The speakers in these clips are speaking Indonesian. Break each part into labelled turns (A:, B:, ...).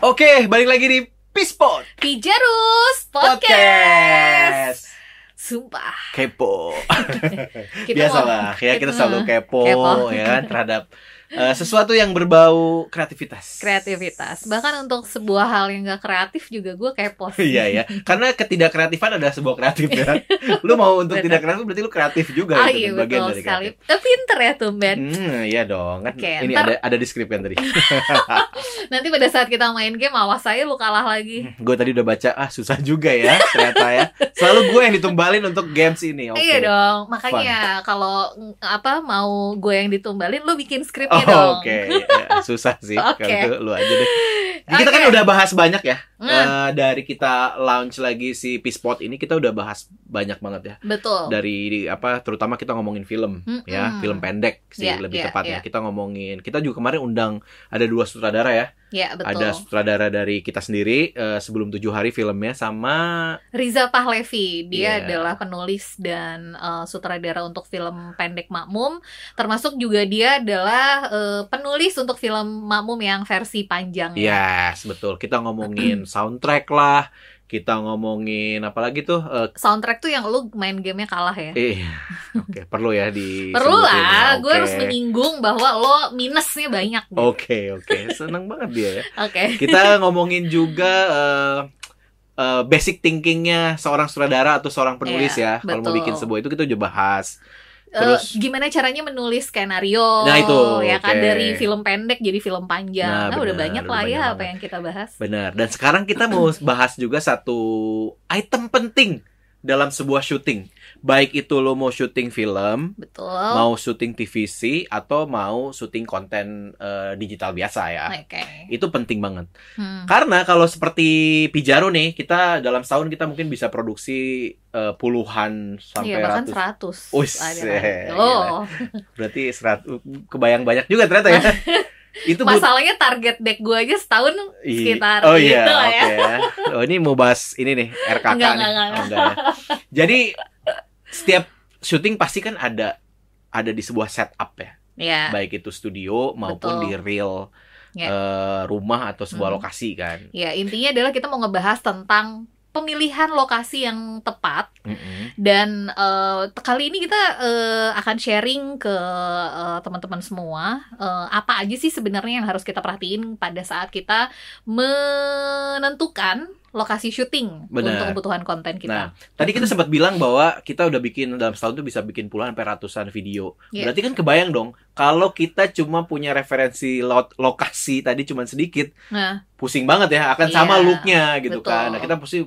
A: Oke, balik lagi di Pispot
B: Pijerus Podcast.
A: Podcast.
B: Sumpah.
A: Kepo.
B: Kita
A: Biasalah, ya kita
B: Kepo.
A: selalu kepo,
B: Kepo.
A: ya kan terhadap eh, sesuatu yang berbau kreativitas.
B: kreativitas. Bahkan untuk sebuah hal yang gak kreatif juga gue kepo. sih.
A: Iya ya, karena ketidakkreatifan adalah sebuah kreatif ya. Lu mau untuk
B: Benar.
A: tidak kreatif berarti lu kreatif juga
B: Ah
A: itu
B: iya
A: kan, bagian
B: betul
A: dari
B: sekali.
A: kreatif.
B: Eh, Pinter ya tumben.
A: Hmm, iya dong. Kan
B: Oke,
A: ini
B: ntar-
A: ada ada deskripsi kan tadi.
B: Nanti pada saat kita main game awas aja lu kalah lagi.
A: gue tadi udah baca, ah susah juga ya ternyata ya. Selalu gue yang ditumbalin untuk games ini. Hmm, Oke.
B: Iya dong. Makanya kalau mm, apa mau gue yang ditumbalin lu bikin
A: Oh,
B: skripnya dong.
A: Oke, Ya, susah sih
B: Oke.
A: kalau itu lu aja deh. Kita kan
B: Oke.
A: udah bahas banyak ya
B: Hmm,
A: Eh, dari kita launch lagi si Pispot ini kita udah bahas banyak banget ya
B: betul.
A: dari apa terutama kita ngomongin film
B: Mm-mm.
A: ya film pendek sih
B: Hmm, Iya,
A: lebih
B: iya,
A: tepatnya
B: iya.
A: kita ngomongin kita juga kemarin undang ada dua sutradara ya
B: Ya betul.
A: ada sutradara dari kita sendiri eh, sebelum tujuh hari filmnya sama
B: Riza Pahlevi, dia
A: Iya.
B: adalah penulis dan eh, sutradara untuk film pendek Makmum, termasuk juga dia adalah eh, penulis untuk film Makmum yang versi panjang.
A: yes betul kita ngomongin soundtrack lah kita ngomongin apalagi tuh eh,
B: Soundtrack tuh yang lu main gamenya kalah ya.
A: Eh, oke perlu ya di.
B: Perlu lah, gue harus
A: menyinggung.
B: menyinggung bahwa lo minusnya banyak. gitu. Oke.
A: Oke oke, senang banget dia ya. Kita ngomongin juga eh, eh, basic thinkingnya seorang sutradara atau seorang penulis ya. Kalau mau
B: Iya, betul.
A: bikin sebuah itu kita juga bahas.
B: Eh,
A: Terus-
B: gimana caranya menulis skenario?
A: Nah, itu,
B: ya kan
A: oke.
B: dari film pendek jadi film
A: Nah,
B: panjang. Nah, udah
A: benar,
B: banyak
A: udah
B: lah ya
A: banyak
B: apa
A: banget.
B: yang kita bahas.
A: Benar. Dan sekarang kita mau bahas juga satu item penting dalam sebuah syuting. Baik itu lo mau syuting film,
B: Betul.
A: mau syuting TVC atau mau syuting konten eh, digital biasa ya.
B: Oke.
A: Itu penting banget.
B: Hmm.
A: Karena kalau seperti Pijaro nih, kita dalam setahun kita mungkin bisa produksi eh, puluhan sampai
B: Iya bahkan
A: ratus.
B: 100
A: Wih,
B: ada.
A: eh,
B: Oh,
A: Berarti serat, kebayang banyak juga ternyata ya. Itu but-
B: masalahnya target deck gue aja setahun
A: Ih,
B: sekitar
A: Oh
B: gitu
A: iya,
B: lah ya.
A: oke ya. Oh ini mau bahas ini nih RKK nih.
B: Enggak, enggak, enggak.
A: Oh, enggak ya. Jadi setiap syuting pasti kan ada ada di sebuah setup ya,
B: ya,
A: baik itu studio maupun
B: Betul.
A: di real
B: Ya.
A: eh, rumah atau sebuah
B: Hmm.
A: lokasi kan.
B: ya intinya adalah kita mau ngebahas tentang pemilihan lokasi yang tepat
A: Mm-mm.
B: dan eh, kali ini kita eh, akan sharing ke eh, teman-teman semua eh, apa aja sih sebenarnya yang harus kita perhatiin pada saat kita menentukan lokasi syuting
A: Benar.
B: untuk kebutuhan konten
A: Nah,
B: kita.
A: Tadi kita sempat bilang bahwa kita udah bikin dalam setahun tuh bisa bikin puluhan sampai ratusan video.
B: Iya.
A: Berarti kan kebayang dong kalau kita cuma punya referensi lo- lokasi tadi cuma sedikit,
B: Nah,
A: pusing banget ya akan
B: Iya,
A: sama looknya gitu
B: betul.
A: kan. Nah, kita mesti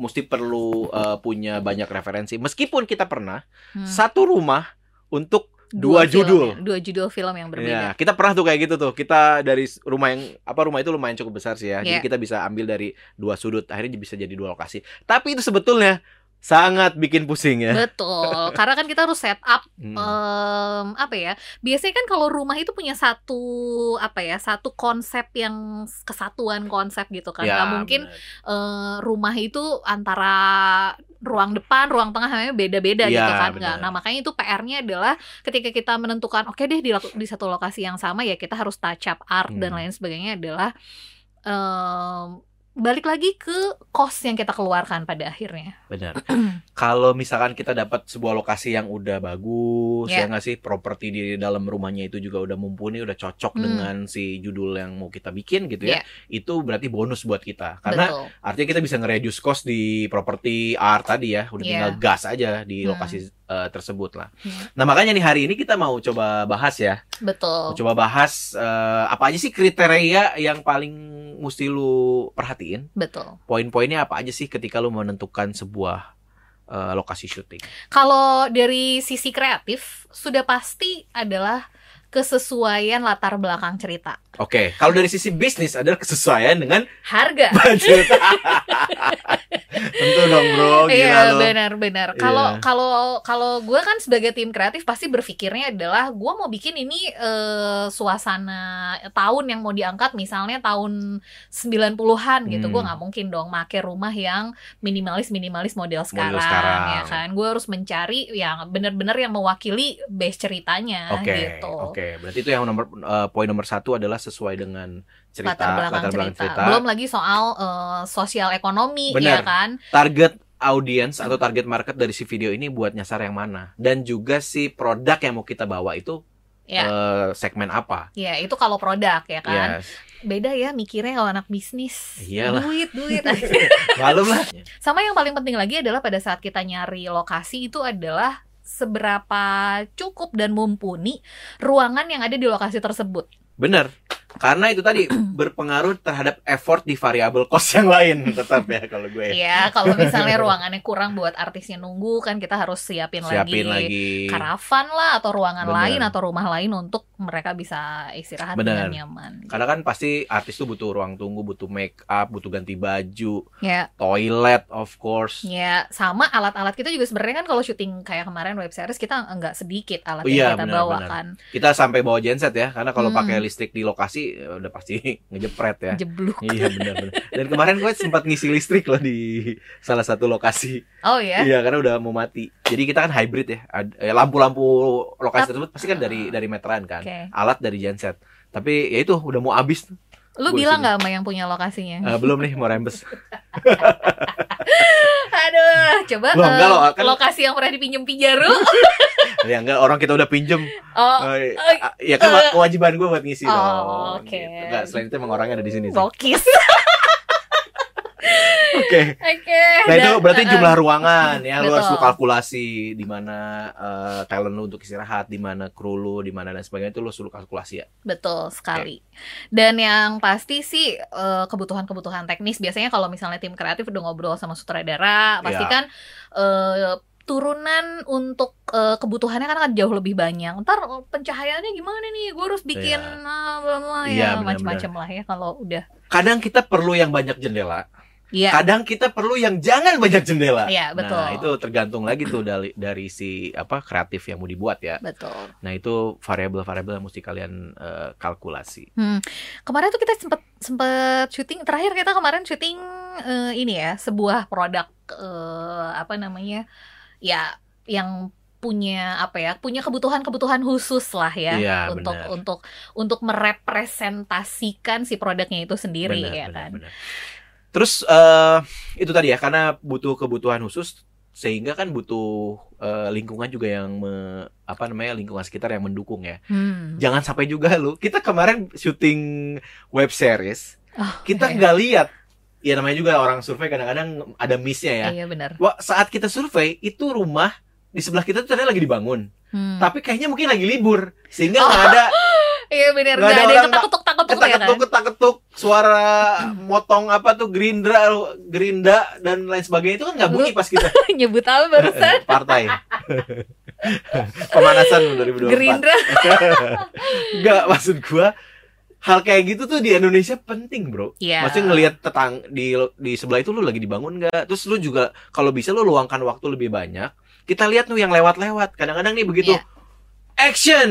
A: mesti perlu uh, punya banyak referensi. Meskipun kita pernah
B: hmm,
A: satu rumah untuk dua
B: film
A: judul.
B: ya, dua judul film yang berbeda.
A: Ya, kita pernah tuh kayak gitu tuh. Kita dari s- rumah yang apa rumah itu lumayan cukup besar sih ya.
B: Iya.
A: Jadi kita bisa ambil dari dua sudut, akhirnya bisa jadi dua lokasi. Tapi itu sebetulnya sangat bikin pusing ya.
B: Betul, karena kan kita harus set up
A: Hmm.
B: em, apa ya? Biasanya kan kalau rumah itu punya satu apa ya? Satu konsep yang kesatuan konsep
A: Ya,
B: gitu kan. Nggak mungkin
A: bener.
B: eh, rumah itu antara ruang depan, ruang tengah namanya beda-beda
A: Iya,
B: gitu kan. Nggak.
A: benar.
B: Nah, makanya itu PR-nya adalah ketika kita menentukan oke deh di, lak- di satu lokasi yang sama ya kita harus touch up art dan
A: Hmm.
B: lain sebagainya adalah em, balik lagi ke cost yang kita keluarkan pada akhirnya.
A: benar. Kalau misalkan kita dapat sebuah lokasi yang udah bagus, ya
B: Iya.
A: nggak sih properti di dalam rumahnya itu juga udah mumpuni, udah cocok
B: Hmm.
A: dengan si judul yang mau kita bikin gitu ya.
B: Iya.
A: Itu berarti bonus buat kita. Karena
B: Betul.
A: artinya kita bisa nge-reduce cost di properti art tadi ya, udah
B: Iya.
A: tinggal gas aja di
B: Hmm.
A: lokasi eh, tersebut lah.
B: Iya.
A: Nah, makanya nih hari ini kita mau coba bahas ya. Mau
B: Betul.
A: coba bahas eh, apa aja sih kriteria yang paling mesti lu perhatiin
B: Betul.
A: poin-poinnya apa aja sih ketika lu menentukan sebuah eh, lokasi syuting?
B: Kalau dari sisi kreatif, sudah pasti adalah kesesuaian latar belakang cerita.
A: Oke, kalau dari sisi bisnis adalah kesesuaian dengan
B: Harga.
A: budget. Tentu dong bro, Oh, gila
B: Iya
A: lu.
B: benar-benar. Kalau
A: Iya.
B: kalau kalau gue kan sebagai tim kreatif pasti berpikirnya adalah gue mau bikin ini eh, suasana tahun yang mau diangkat misalnya tahun 90-an gitu.
A: Hmm.
B: Gue nggak mungkin dong make rumah yang minimalis-minimalis model sekarang,
A: sekarang.
B: ya kan. Gue harus mencari yang benar-benar yang mewakili base ceritanya
A: Oke,
B: gitu.
A: oke. berarti itu yang nomor eh, poin nomor satu adalah sesuai dengan cerita
B: latar belakang cerita. Belum lagi soal eh, sosial ekonomi ya
A: Benar.
B: kan.
A: Target audience atau target market dari si video ini buat nyasar yang mana dan juga si produk yang mau kita bawa itu
B: Ya.
A: eh, segmen apa?
B: Ya, itu kalau produk
A: Iya.
B: ya kan.
A: Yes.
B: Beda ya mikirnya kalau anak bisnis.
A: Iyalah.
B: Duit, duit.
A: Malum lah.
B: Sama yang paling penting lagi adalah pada saat kita nyari lokasi itu adalah seberapa cukup dan mumpuni ruangan yang ada di lokasi tersebut.
A: Bener. Karena itu tadi berpengaruh terhadap effort di variabel cost yang lain tetap ya kalau gue.
B: Ya, kalau misalnya ruangannya kurang buat artisnya nunggu kan kita harus siapin,
A: Siapin lagi.
B: karavan lah atau ruangan
A: Bener.
B: lain atau rumah lain untuk mereka bisa istirahat dengan
A: Bener.
B: nyaman.
A: Karena kan pasti artis tuh butuh ruang tunggu, butuh make up, butuh ganti baju,
B: Ya,
A: toilet of course.
B: ya sama alat-alat kita juga sebenarnya kan kalau syuting kayak kemarin web series kita nggak sedikit alat
A: Oh iya,
B: yang kita
A: benar,
B: bawa
A: benar.
B: kan,
A: Kita sampai bawa genset ya, karena kalau
B: Hmm.
A: pakai listrik di lokasi ya udah pasti ngejepret ya.
B: jebluk.
A: iya benar-benar. Dan kemarin gue sempat ngisi listrik loh di salah satu lokasi.
B: Oh ya.
A: Iya karena udah mau mati. Jadi kita kan hybrid ya. Ad- eh, Lampu-lampu lokasi
B: Tap-
A: tersebut pasti kan dari dari meteran kan.
B: Ah. Oke.
A: Alat dari genset. Tapi ya itu udah mau habis.
B: Lu
A: Gua
B: bilang
A: sini.
B: nggak sama yang punya lokasinya?
A: Eh, belum nih mau rembes.
B: Aduh, coba
A: Loh,
B: eh,
A: enggak loh, kan-
B: lokasi yang pernah dipinjem Pijaru.
A: ya enggak orang kita udah pinjem.
B: Oh,
A: Eh,
B: eh,
A: ah, ya kan
B: eh.
A: kewajiban gue buat ngisi
B: Oh,
A: dong.
B: oke.
A: Gitu. Enggak, selain itu emang orangnya ada di sini sih. Oke.
B: bokis. Oke.
A: Nah itu
B: dan-
A: berarti
B: eh, eh.
A: jumlah ruangan ya lu harus lu
B: Betul.
A: kalkulasi di mana eh, talent lu untuk istirahat, di mana kru lu, di mana dan sebagainya itu lu suruh kalkulasi ya.
B: Betul sekali.
A: Iya.
B: Dan yang pasti sih eh, kebutuhan-kebutuhan teknis biasanya kalau misalnya tim kreatif udah ngobrol sama sutradara, pasti
A: Iya.
B: kan eh, turunan untuk eh, kebutuhannya kan akan jauh lebih banyak. Ntar eh, pencahayaannya gimana nih? Gue harus bikin
A: Iya.
B: ah, bla bla bla,
A: Iya,
B: ya
A: benar-benar.
B: macam-macam lah ya kalau udah.
A: Kadang kita perlu yang banyak jendela,
B: Iya.
A: kadang kita perlu yang jangan banyak jendela.
B: Iya, betul.
A: Kan Nah, itu tergantung lagi tuh dari dari si apa kreatif yang mau dibuat ya.
B: Betul.
A: Nah, itu variabel-variabel yang mesti kalian eh, kalkulasi.
B: Hmm. Kemarin tuh kita sempet sempet syuting terakhir kita kemarin syuting eh, ini ya sebuah produk eh, apa namanya ya yang punya apa ya punya kebutuhan-kebutuhan khusus lah ya
A: Iya,
B: untuk
A: benar.
B: untuk untuk merepresentasikan si produknya itu sendiri
A: Benar,
B: ya
A: benar,
B: kan.
A: benar. Terus eh, itu tadi ya karena butuh kebutuhan khusus sehingga kan butuh eh, lingkungan juga yang me- apa namanya lingkungan sekitar yang mendukung ya.
B: Hmm.
A: Jangan sampai juga lu. Kita kemarin syuting web series,
B: Oh,
A: kita
B: iya.
A: nggak lihat ya namanya juga orang survei kadang-kadang ada miss-nya ya.
B: Iya benar.
A: Wah, saat kita survei itu rumah di sebelah kita tuh ternyata lagi dibangun,
B: Hmm.
A: tapi kayaknya mungkin lagi libur sehingga
B: Oh.
A: nggak ada
B: Iya benar.
A: nggak ada
B: Nggak ada yang
A: orang-
B: ketak-ketuk-ketuk ya kan.
A: ketak-ketuk ketak-ketuk suara motong apa tuh gerindra gerinda dan lain sebagainya itu kan nggak bunyi pas kita
B: Nyebut apa barusan?
A: partai pemanasan 2024
B: Gerindra.
A: nggak maksud gua hal kayak gitu tuh di Indonesia penting bro
B: Iya.
A: Maksudnya ngelihat tetang di di sebelah itu lu lagi dibangun nggak? Terus lu juga kalau bisa lu luangkan waktu lebih banyak. Kita lihat tuh yang lewat-lewat. Kadang-kadang nih begitu
B: Iya.
A: action.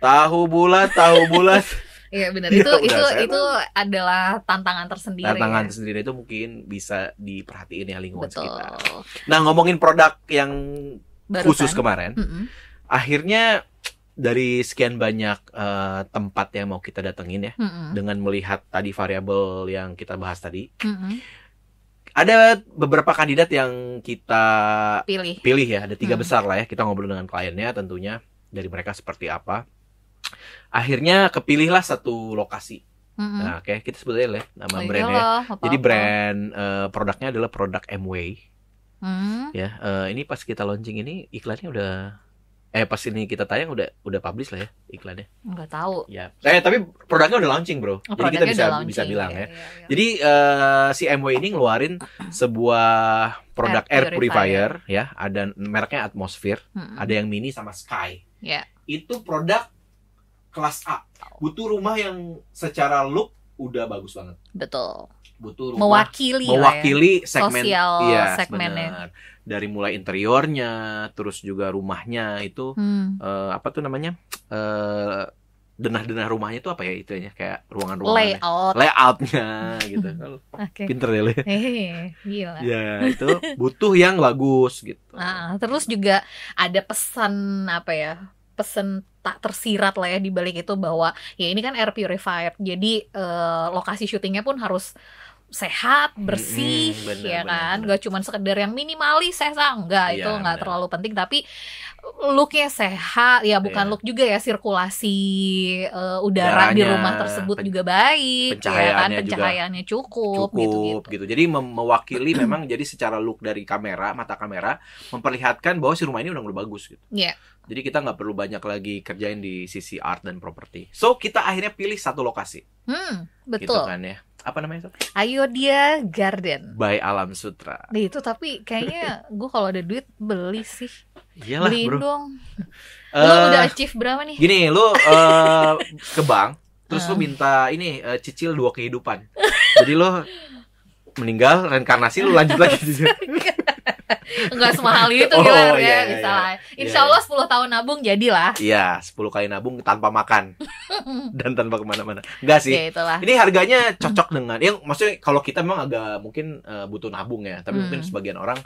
A: Tahu bulat, tahu bulat.
B: Iya benar.
A: Iya,
B: Itu
A: udah,
B: itu
A: saya
B: itu adalah tantangan tersendiri.
A: Tantangan
B: ya.
A: sendiri itu mungkin bisa diperhatiin ya lingkungan
B: Betul.
A: sekitar. Nah, ngomongin produk yang
B: Barusan. Hmm.
A: khusus kemarin,
B: Mm-mm.
A: akhirnya dari sekian banyak eh, tempat yang mau kita datengin ya
B: Mm-mm.
A: dengan melihat tadi variabel yang kita bahas tadi,
B: Mm-mm.
A: ada beberapa kandidat yang kita
B: Pilih.
A: pilih ya ada tiga
B: Hmm.
A: besar lah ya kita ngobrol dengan kliennya tentunya dari mereka seperti apa akhirnya kepilihlah satu lokasi
B: Mm-mm.
A: nah oke kita sebutnya lah nama
B: Oh,
A: brandnya ya.
B: iyalah, apa-apa.
A: jadi brand eh, produknya adalah produk MW
B: Mm.
A: ya Eh, ini pas kita launching ini iklannya udah eh pas ini kita tayang udah udah publish lah ya iklannya
B: Nggak tahu.
A: ya eh tapi produknya udah launching bro
B: Oh,
A: jadi kita
B: produknya
A: bisa
B: udah
A: bisa
B: launching.
A: bilang ya
B: Iya, iya, iya.
A: jadi eh, si MW ini ngeluarin sebuah produk air,
B: Air
A: purifier.
B: purifier. Hmm.
A: ya, ada mereknya Atmosphere,
B: Mm-mm.
A: ada yang mini sama Sky.
B: Iya.
A: Itu produk kelas A. Butuh rumah yang secara look udah bagus banget.
B: Betul.
A: Butuh rumah
B: Mewakili. lah ya.
A: mewakili segmen
B: Sosial
A: Iya,
B: Oh, segmennya.
A: benar. Dari mulai interiornya, terus juga rumahnya itu
B: Hmm.
A: eh, apa tuh namanya? Eh, denah-denah rumahnya itu apa ya itu kayak ruangan-ruangan ya.
B: Layout.
A: layoutnya gitu
B: Oke. Iya.
A: pinter ya lu ya.
B: Hehehe, Gila.
A: Ya itu butuh yang bagus gitu.
B: Ah, Nah, terus juga ada pesan apa ya? pesan tak tersirat lah ya di balik itu bahwa ya ini kan air purifier. Jadi eh, lokasi syutingnya pun harus sehat, bersih,
A: Mm-mm, bener,
B: ya
A: bener,
B: kan.
A: bener.
B: Gak cuman sekedar yang minimalis saya enggak
A: Iya,
B: itu nggak
A: bener.
B: terlalu penting tapi looknya sehat, ya bukan
A: Iya.
B: look juga ya sirkulasi eh, udara di
A: Udaranya,
B: rumah tersebut
A: pen-
B: juga baik, ya kan
A: pencahayaannya juga
B: pencahayaannya cukup,
A: cukup gitu,
B: gitu-gitu.
A: Jadi mem- mewakili memang jadi secara look dari kamera, mata kamera memperlihatkan bahwa si rumah ini udah udah bagus gitu.
B: Iya.
A: Jadi kita nggak perlu banyak lagi kerjain di sisi art dan properti. So kita akhirnya pilih satu lokasi,
B: Hmm,
A: gitu
B: betul.
A: kan ya. Apa namanya? Sob?
B: Ayo dia garden.
A: By Alam Sutra.
B: Nah, itu tapi kayaknya gue kalau ada duit beli sih.
A: Iyalah
B: Beliin
A: bro.
B: dong.
A: Eh,
B: Lu udah achieve berapa nih?
A: Gini, lu eh, ke bank, terus lu
B: Eh.
A: minta ini eh, cicil dua kehidupan. Jadi lu meninggal reinkarnasi lu lanjut lagi
B: Enggak semahal itu
A: gitu. Oh,
B: gimana
A: iya,
B: ya,
A: iya,
B: bisa
A: iya.
B: lah. Insya
A: Iya,
B: Allah 10 tahun nabung jadilah.
A: Iya, 10 kali nabung tanpa makan dan tanpa kemana-mana. Enggak sih.
B: ya itulah.
A: Ini harganya cocok dengan yang maksudnya kalau kita memang agak mungkin eh, butuh nabung ya, tapi
B: Hmm.
A: mungkin sebagian orang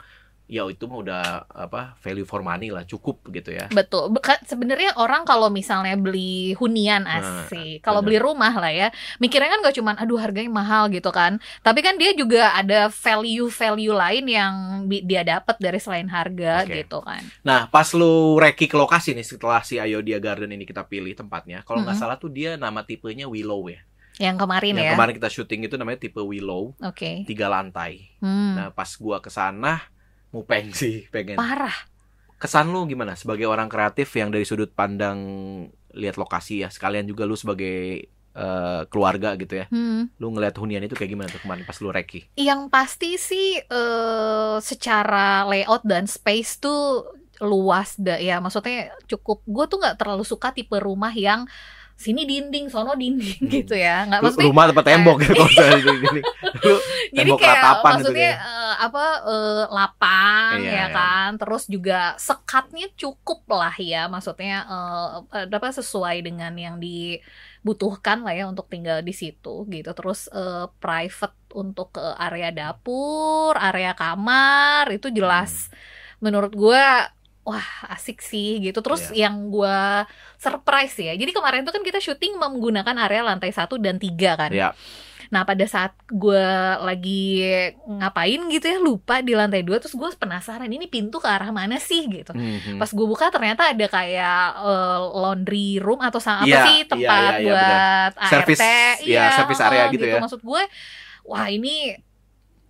A: ya itu mah udah apa value for money lah cukup gitu ya.
B: Betul. Beka- Sebenarnya orang kalau misalnya beli hunian asik, kalau beli
A: Nah, bener.
B: rumah lah ya, mikirnya kan gak cuman aduh harganya mahal gitu kan. Tapi kan dia juga ada value-value lain yang bi- dia dapat dari selain harga
A: Oke.
B: gitu kan.
A: Nah, pas lu reki ke lokasi nih setelah si Ayodia Garden ini kita pilih tempatnya. Kalau nggak
B: Mm-mm.
A: salah tuh dia nama tipenya Willow ya.
B: Yang kemarin
A: Yang
B: ya.
A: kemarin kita syuting itu namanya tipe Willow,
B: Oke.
A: tiga lantai.
B: Hmm.
A: Nah, pas gua ke sana mupeng sih pengen.
B: Parah.
A: Kesan lu gimana sebagai orang kreatif yang dari sudut pandang lihat lokasi ya, sekalian juga lu sebagai eh, keluarga gitu ya.
B: Hmm.
A: Lu ngelihat hunian itu kayak gimana tuh kemarin pas lu reki?
B: Yang pasti sih eh secara layout dan space tuh luas da ya maksudnya cukup gue tuh nggak terlalu suka tipe rumah yang sini dinding sono dinding
A: Hmm.
B: gitu ya nggak
A: Lu-
B: maksudnya
A: rumah tempat tembok gitu kalau misalnya gini-gini. Lu
B: jadi
A: tembok
B: kayak
A: ratapan gitu
B: maksudnya eh, apa eh, lapang
A: Iya,
B: ya
A: iya.
B: kan terus juga sekatnya cukup lah ya maksudnya eh, eh, apa sesuai dengan yang dibutuhkan lah ya untuk tinggal di situ gitu terus eh, private untuk ke area dapur area kamar itu jelas
A: Hmm.
B: menurut gua Wah asik sih gitu Terus
A: Iya.
B: yang gua surprise ya Jadi kemarin tuh kan kita syuting menggunakan area lantai 1 dan 3 kan
A: ya.
B: Nah pada saat gue lagi ngapain gitu ya lupa di lantai dua terus gue penasaran ini pintu ke arah mana sih gitu.
A: Mhm.
B: Pas gue buka ternyata ada kayak eh, laundry room atau sa- apa
A: Iya,
B: sih
A: iya,
B: tempat
A: iya, iya,
B: buat ART,
A: Service, iya, service area
B: eh,
A: gitu ya.
B: Maksud gue, wah ini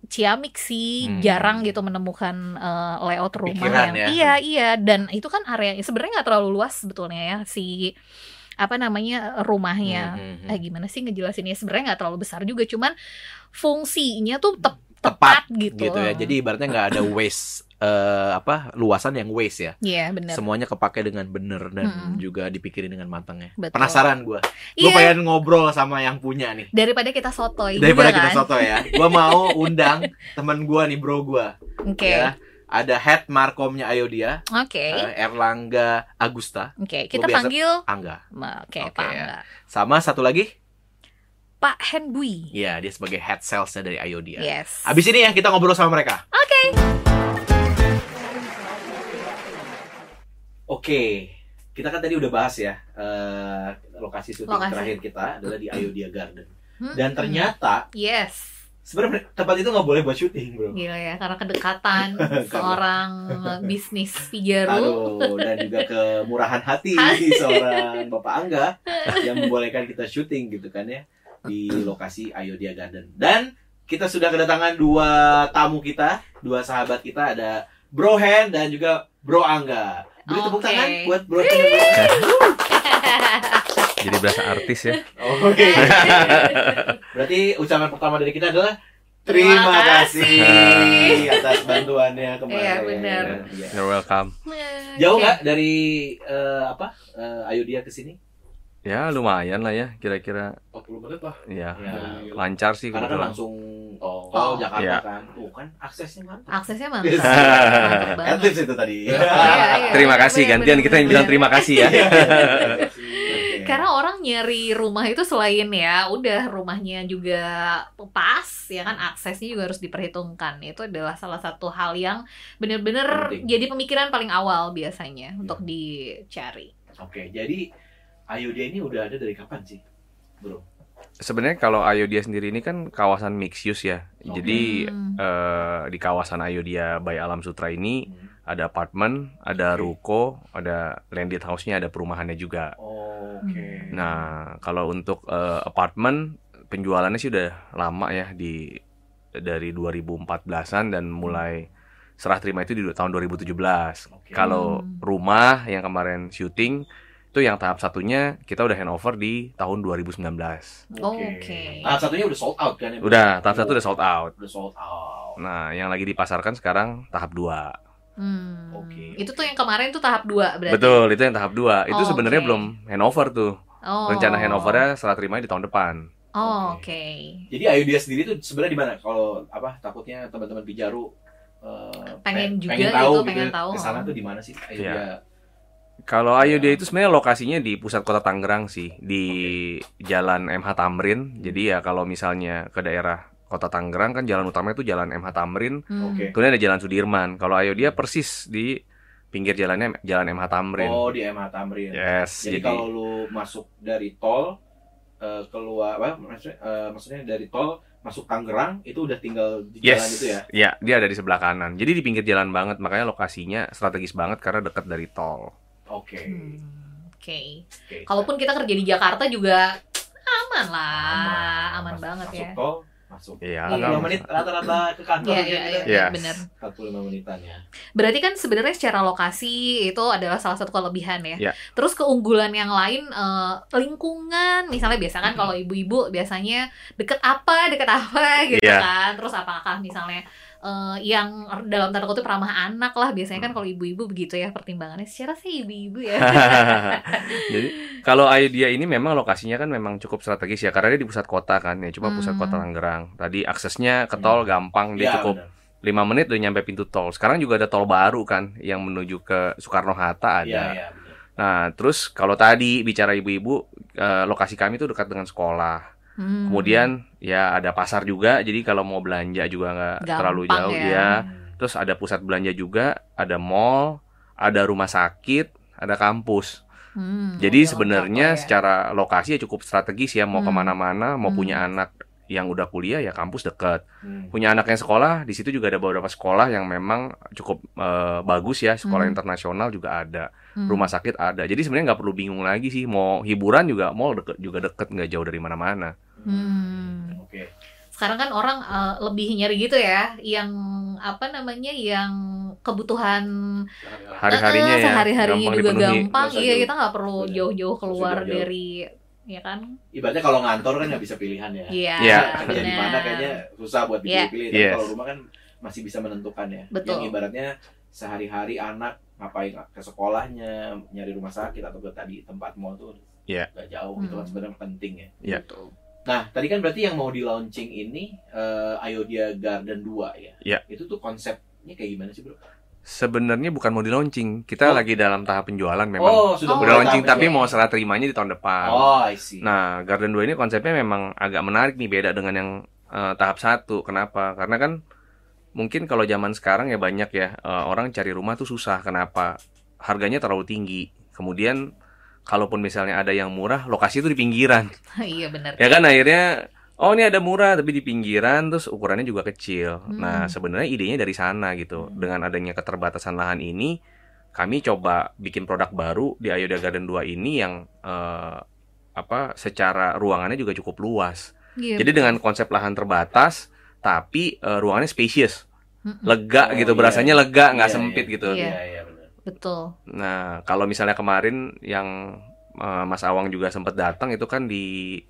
B: ciamik sih
A: Hmm.
B: jarang gitu menemukan eh, layout rumah
A: Pikiran
B: yang
A: ya.
B: iya iya dan itu kan area sebenarnya nggak terlalu luas sebetulnya ya si apa namanya rumahnya
A: Mhm.
B: eh gimana sih ngejelasinnya sebenarnya nggak terlalu besar juga cuman fungsinya tuh tep-
A: Tepat,
B: tepat, gitu
A: gitu ya. Jadi ibaratnya nggak ada waste eh, apa luasan yang waste ya.
B: iya benar
A: Semuanya kepake dengan bener dan
B: Mm-mm.
A: juga dipikirin dengan matang ya.
B: Betul.
A: Penasaran gua. Gua
B: iya
A: pengen ngobrol sama yang punya nih.
B: daripada kita sotoy
A: Daripada
B: juga
A: kita
B: kan
A: soto ya. Gua mau undang teman gua nih, bro gua.
B: oke
A: Ya. Ada head markomnya Ayodia,
B: oke
A: eh, Erlangga Agusta
B: oke kita
A: Lu biasa-
B: panggil
A: Angga.
B: oke
A: Oke, ya.
B: pak Angga.
A: Sama satu lagi,
B: pak Henbui
A: ya dia sebagai head salesnya dari Ayodia.
B: yes
A: Abis ini ya kita ngobrol sama mereka.
B: oke
A: Oke. Kita kan tadi udah bahas ya eh, lokasi syuting
B: Lokasi.
A: terakhir kita adalah di Ayodia Garden.
B: Hmm,
A: Dan
B: hmm.
A: ternyata
B: yes
A: sebenarnya tempat itu nggak boleh buat syuting, bro.
B: gila ya karena kedekatan seorang bisnis figaro
A: Aduh, dan juga kemurahan hati seorang Bapak Angga yang membolehkan kita syuting gitu kan ya di lokasi Ayodia Garden. Dan kita sudah kedatangan dua tamu kita, dua sahabat kita ada Bro Hen dan juga Bro Angga. Beri tepuk
B: Oke.
A: tangan buat Bro Hen. dan Bro Angga.
C: jadi berasa artis ya
A: Oke. Berarti ucapan pertama dari kita adalah
B: Terima
A: Terima kasih
B: kasih."
A: atas bantuannya kemarin.
B: Iya, benar.
A: Iya.
C: you're welcome
A: Jauh
B: Oke.
A: nggak dari eh, apa eh, Ayodhya ke sini?
C: ya lumayan lah ya kira-kira
D: 40 menit lah.
C: ya
A: Ya.
C: lancar sih
A: Karena kan
C: kebetulan.
A: langsung oh,
B: Oh.
A: Jakarta
C: Iya.
A: kan. Oh, kan aksesnya mantap.
B: aksesnya mantap
A: Yes.
B: Mantap banget.
A: At least itu tadi.
B: Iya, iya.
C: terima kasih
B: Bener,
C: gantian
B: bener,
C: kita yang bilang
B: bener.
C: terima kasih ya
A: Oke.
B: Karena orang nyari rumah itu selain ya udah rumahnya juga pas ya kan
A: Hmm.
B: aksesnya juga harus diperhitungkan. Itu adalah salah satu hal yang bener-bener
A: Penting. Hmm.
B: jadi pemikiran paling awal biasanya untuk dicari.
A: Oke, jadi Ayodhya ini udah ada dari kapan sih, bro?
C: Sebenarnya kalau Ayodhya sendiri ini kan kawasan mixed use ya.
A: Oke.
C: Jadi
B: Hmm.
C: eh, di kawasan Ayodhya by Alam Sutra ini
A: Hmm.
C: ada apartemen,
A: Oke.
C: ada ruko, ada landed house-nya, ada perumahannya juga.
A: Oke.
B: Hmm.
C: Nah, kalau untuk eh, apartemen penjualannya sih udah lama ya di dari 2014-an dan mulai serah terima itu di du- tahun 2017.
A: Oke.
C: Kalau
B: Hmm.
C: rumah yang kemarin syuting itu yang tahap satunya kita udah handover di tahun 2019.
B: Oh, Oke.
A: Tahap satunya udah sold out kan ya? bro?
C: Udah, tahap satu udah sold out.
A: Udah sold out.
C: Nah, yang lagi dipasarkan sekarang tahap 2.
B: Hmm.
A: Oke.
B: Itu tuh yang kemarin tuh tahap 2 berarti.
C: Betul, itu yang tahap 2. Itu
B: Oh,
C: sebenarnya
B: oke.
C: belum handover tuh.
B: Oh.
C: Rencana handovernya serah terima di tahun depan.
B: Oh, oke.
A: Jadi Ayodhya sendiri tuh sebenarnya di mana? Kalau apa takutnya teman-teman Pijaru eh,
B: Pengen
A: pe-
B: juga
A: pengen
B: gitu,
A: tahu
B: pengen tahu.
A: Kesana tuh di mana sih
C: Iya.
A: Ayodhya?
C: Kalau
A: Ya.
C: Ayodhya itu sebenarnya lokasinya di pusat kota Tangerang sih, di Jalan MH
A: Hmm.
C: Tamrin. Jadi ya kalau misalnya ke daerah kota Tangerang kan jalan utamanya itu Jalan MH Tamrin.
B: Hmm.
A: Oke.
C: Kemudian ada Jalan Sudirman. Kalau Ayodhya persis di pinggir jalannya Jalan MH Tamrin.
A: Oh di MH Tamrin.
C: yes,
A: Jadi,
C: jadi,
A: kalau lu masuk dari tol eh, keluar apa maksudnya, eh, maksudnya dari tol masuk Tangerang itu udah tinggal di
C: yes,
A: jalan itu ya.
C: ya dia ada di sebelah kanan. Jadi di pinggir jalan banget, makanya lokasinya strategis banget karena dekat dari tol.
A: Oke.
B: Hmm, Oke.
A: Oke.
B: Kalaupun kita kerja di Jakarta juga aman lah. Aman,
A: Mas-
B: banget
A: masuk
B: ya.
A: tol, masuk.
C: Iya,
A: 45
C: kan?
A: menit rata-rata ke kantor
B: Iya,
A: gitu
B: iya,
A: kan.
B: iya,
C: Yes.
B: bener.
A: 45 menitan ya.
B: Berarti kan sebenarnya secara lokasi itu adalah salah satu kelebihan ya.
C: Ya.
B: Terus keunggulan yang lain eh, lingkungan, misalnya biasa kan kalau ibu-ibu biasanya deket apa, deket apa gitu
C: Iya.
B: kan. Terus apakah misalnya eh, yang dalam tanda kutip ramah anak lah biasanya
C: Mm.
B: kan kalau ibu-ibu begitu ya pertimbangannya. Secara sih ibu-ibu ya.
C: Jadi kalau Ayodhya ini memang lokasinya kan memang cukup strategis ya karena dia di pusat kota kan ya cuma pusat
B: Hmm.
C: kota Tangerang. Tadi aksesnya ke tol gampang dia
A: Iya,
C: cukup
A: benar.
C: 5 menit udah nyampe pintu tol. Sekarang juga ada tol baru kan yang menuju ke Soekarno Hatta ada.
A: Iya, iya. benar.
C: Nah terus kalau tadi bicara ibu-ibu eh, lokasi kami tuh dekat dengan sekolah.
B: Hmm.
C: Kemudian ya ada pasar juga jadi kalau mau belanja juga nggak
B: Gampang
C: terlalu jauh
B: ya.
C: ya. Terus ada pusat belanja juga, ada mall, ada rumah sakit, ada kampus.
B: Hmm, oke,
C: Jadi
B: lengkap lah
C: sebenarnya
B: ya.
C: secara lokasi ya cukup strategis ya mau
B: Hmm.
C: kemana-mana,
B: Hmm.
C: mau punya anak yang udah kuliah ya kampus dekat,
A: Hmm.
C: punya anak yang sekolah di situ juga ada beberapa sekolah yang memang cukup eh, bagus ya sekolah
B: Hmm.
C: internasional juga ada,
B: Hmm.
C: rumah sakit ada, jadi sebenarnya nggak perlu bingung lagi sih mau hiburan juga mall deket juga deket nggak jauh dari mana-mana.
B: Hmm.
A: Oke.
B: sekarang kan orang eh, lebih nyari gitu ya yang apa namanya yang kebutuhan
C: Hari-harinya
B: Eh, eh,
C: ya
B: sehari-harinya
C: gampang
B: juga
C: dipenuhi.
B: gampang
A: Nggak usah
B: iya
A: jauh.
B: kita nggak perlu
A: Bener.
B: jauh-jauh keluar
A: jauh-jauh.
B: dari ya kan
A: Ibaratnya kalau ngantor kan nggak bisa pilihan ya.
B: iya
C: Iya.
A: Kerja di mana
B: benar.
A: kayaknya susah buat
B: Iya.
A: dipilih-pilih. Tapi
C: Yes.
A: kalau rumah kan masih bisa menentukan ya.
B: Betul.
A: Yang ibaratnya sehari-hari anak ngapain ke sekolahnya, nyari rumah sakit atau ke tadi tempat mall tuh
C: Iya.
A: nggak jauh gitu kan
B: Hmm.
A: sebenarnya penting ya.
C: Iya.
B: Betul.
A: Nah, tadi kan berarti yang mau di launching ini eh, Ayodhya Garden 2 ya.
C: Iya.
A: Itu tuh konsepnya kayak gimana sih, Bro?
C: Sebenarnya bukan mau di launching, kita
A: Oh.
C: lagi dalam tahap penjualan memang.
A: Oh, sudah
B: Oh,
C: Udah
A: mulai
C: launching
A: tahap
C: tapi
A: ya.
C: mau serah terimanya di tahun depan.
A: Oh, I see.
C: Nah, Garden 2 ini konsepnya memang agak menarik nih beda dengan yang eh, tahap satu. Kenapa? Karena kan mungkin kalau zaman sekarang ya banyak ya eh, orang cari rumah tuh susah. Kenapa? Harganya terlalu tinggi. Kemudian kalaupun misalnya ada yang murah, lokasi itu di pinggiran.
B: iya benar
C: Ya kan akhirnya oh ini ada murah tapi di pinggiran terus ukurannya juga kecil.
B: Hmm.
C: Nah, sebenarnya idenya dari sana gitu.
B: Hmm.
C: Dengan adanya keterbatasan lahan ini kami coba bikin produk baru di Ayodhya Garden 2 ini yang eh, apa secara ruangannya juga cukup luas.
B: Iya,
C: Jadi
B: betul.
C: dengan konsep lahan terbatas tapi eh, ruangannya spacious,
B: Mm-mm,
C: lega
A: Oh,
C: gitu,
A: iya.
C: berasanya lega, nggak
A: Iya,
C: sempit
A: iya.
C: gitu.
B: Iya.
A: Iya, iya benar.
B: betul
C: Nah, kalau misalnya kemarin yang eh, Mas Awang juga sempat datang itu kan di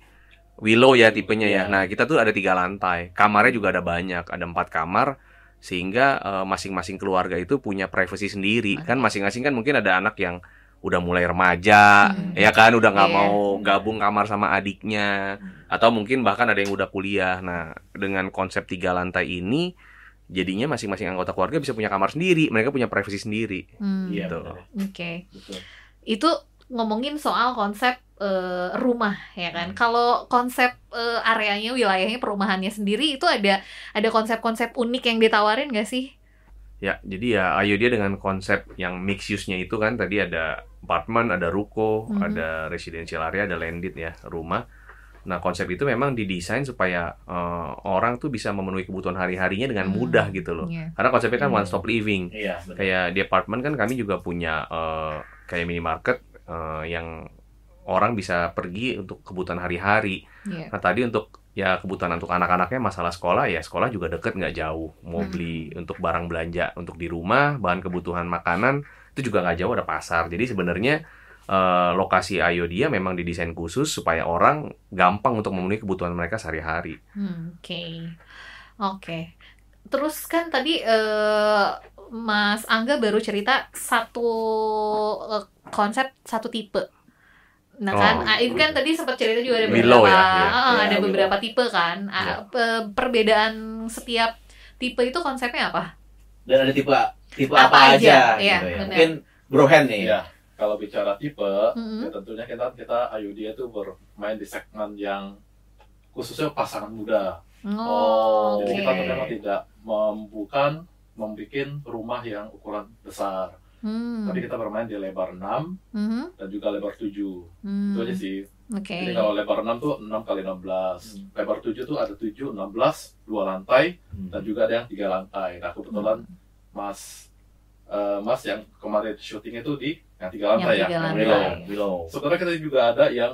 C: Willow ya tipenya
A: Iya.
C: ya. Nah, kita tuh ada tiga lantai. Kamarnya juga ada banyak, ada empat kamar sehingga eh, masing-masing keluarga itu punya privasi sendiri. Kan masing-masing kan mungkin ada anak yang udah mulai remaja,
B: Hmm.
C: ya kan udah nggak
B: Iya.
C: mau gabung kamar sama adiknya atau mungkin bahkan ada yang udah kuliah. Nah, dengan konsep tiga lantai ini jadinya masing-masing anggota keluarga bisa punya kamar sendiri, mereka punya privasi sendiri.
B: Hmm,
A: Iya,
C: Gitu.
A: benar.
B: oke
A: Betul.
B: itu ngomongin soal konsep eh, rumah ya kan.
A: Hmm.
B: Kalau konsep eh, areanya, wilayahnya, perumahannya sendiri itu ada ada konsep-konsep unik yang ditawarin gak sih?
C: Ya, jadi ya ayo dia dengan konsep yang mix use-nya itu kan tadi ada apartemen, ada ruko,
B: Mhm.
C: ada residential area, ada landed ya, rumah. Nah, konsep itu memang didesain supaya eh, orang tuh bisa memenuhi kebutuhan hari-harinya dengan
B: Hmm.
C: mudah gitu loh.
B: Iya.
C: Karena konsepnya kan
A: Hmm.
C: one stop living.
A: Iya, benar.
C: Kayak di apartemen kan kami juga punya eh, kayak minimarket eh, yang orang bisa pergi untuk kebutuhan hari-hari.
B: Iya.
C: Nah tadi untuk ya kebutuhan untuk anak-anaknya masalah sekolah ya sekolah juga deket nggak jauh mau
B: Hmm.
C: beli untuk barang belanja untuk di rumah bahan kebutuhan makanan itu juga nggak jauh ada pasar jadi sebenarnya eh, lokasi Ayodia memang didesain khusus supaya orang gampang untuk memenuhi kebutuhan mereka sehari-hari
B: Hmm, Oke. Oke. Terus kan tadi eh, Mas Angga baru cerita satu eh, konsep satu tipe. Nah
C: Oh.
B: kan, ah, itu kan tadi sempat cerita juga ada
C: Below
B: beberapa,
C: ya,
D: Iya.
C: ya.
B: ah,
A: Ya,
B: ada
A: below.
B: beberapa tipe kan. Ah, pe- perbedaan setiap tipe itu konsepnya apa?
A: Dan ada tipe tipe
B: Apa
A: apa,
B: aja,
A: aja,
B: iya,
A: gitu ya.
B: benar.
A: Mungkin Bro Hen nih.
D: Iya. Kalau bicara tipe,
B: Mm-mm.
D: ya tentunya kita kita Ayudia tuh bermain di segmen yang khususnya pasangan muda.
B: Oh,
D: Jadi
B: oke.
D: kita tuh memang tidak membukan membuat rumah yang ukuran besar.
B: Hmm,
D: Tapi kita bermain di lebar 6
B: mhm,
D: dan juga lebar 7.
B: hmm,
D: Itu aja sih.
B: Oke. Hmm.
D: Jadi kalau lebar 6 tuh 6 kali 16. Lebar 7 tuh ada 7, 16, 2 lantai
B: Hmm.
D: dan juga ada yang 3 lantai. Nah, kebetulan Mas eh, Mas yang kemarin syuting itu di yang 3 lantai
B: Yang
D: ya.
B: tiga
D: yang
B: lantai.
D: Willow.
A: Willow.
D: Sebenarnya kita juga ada yang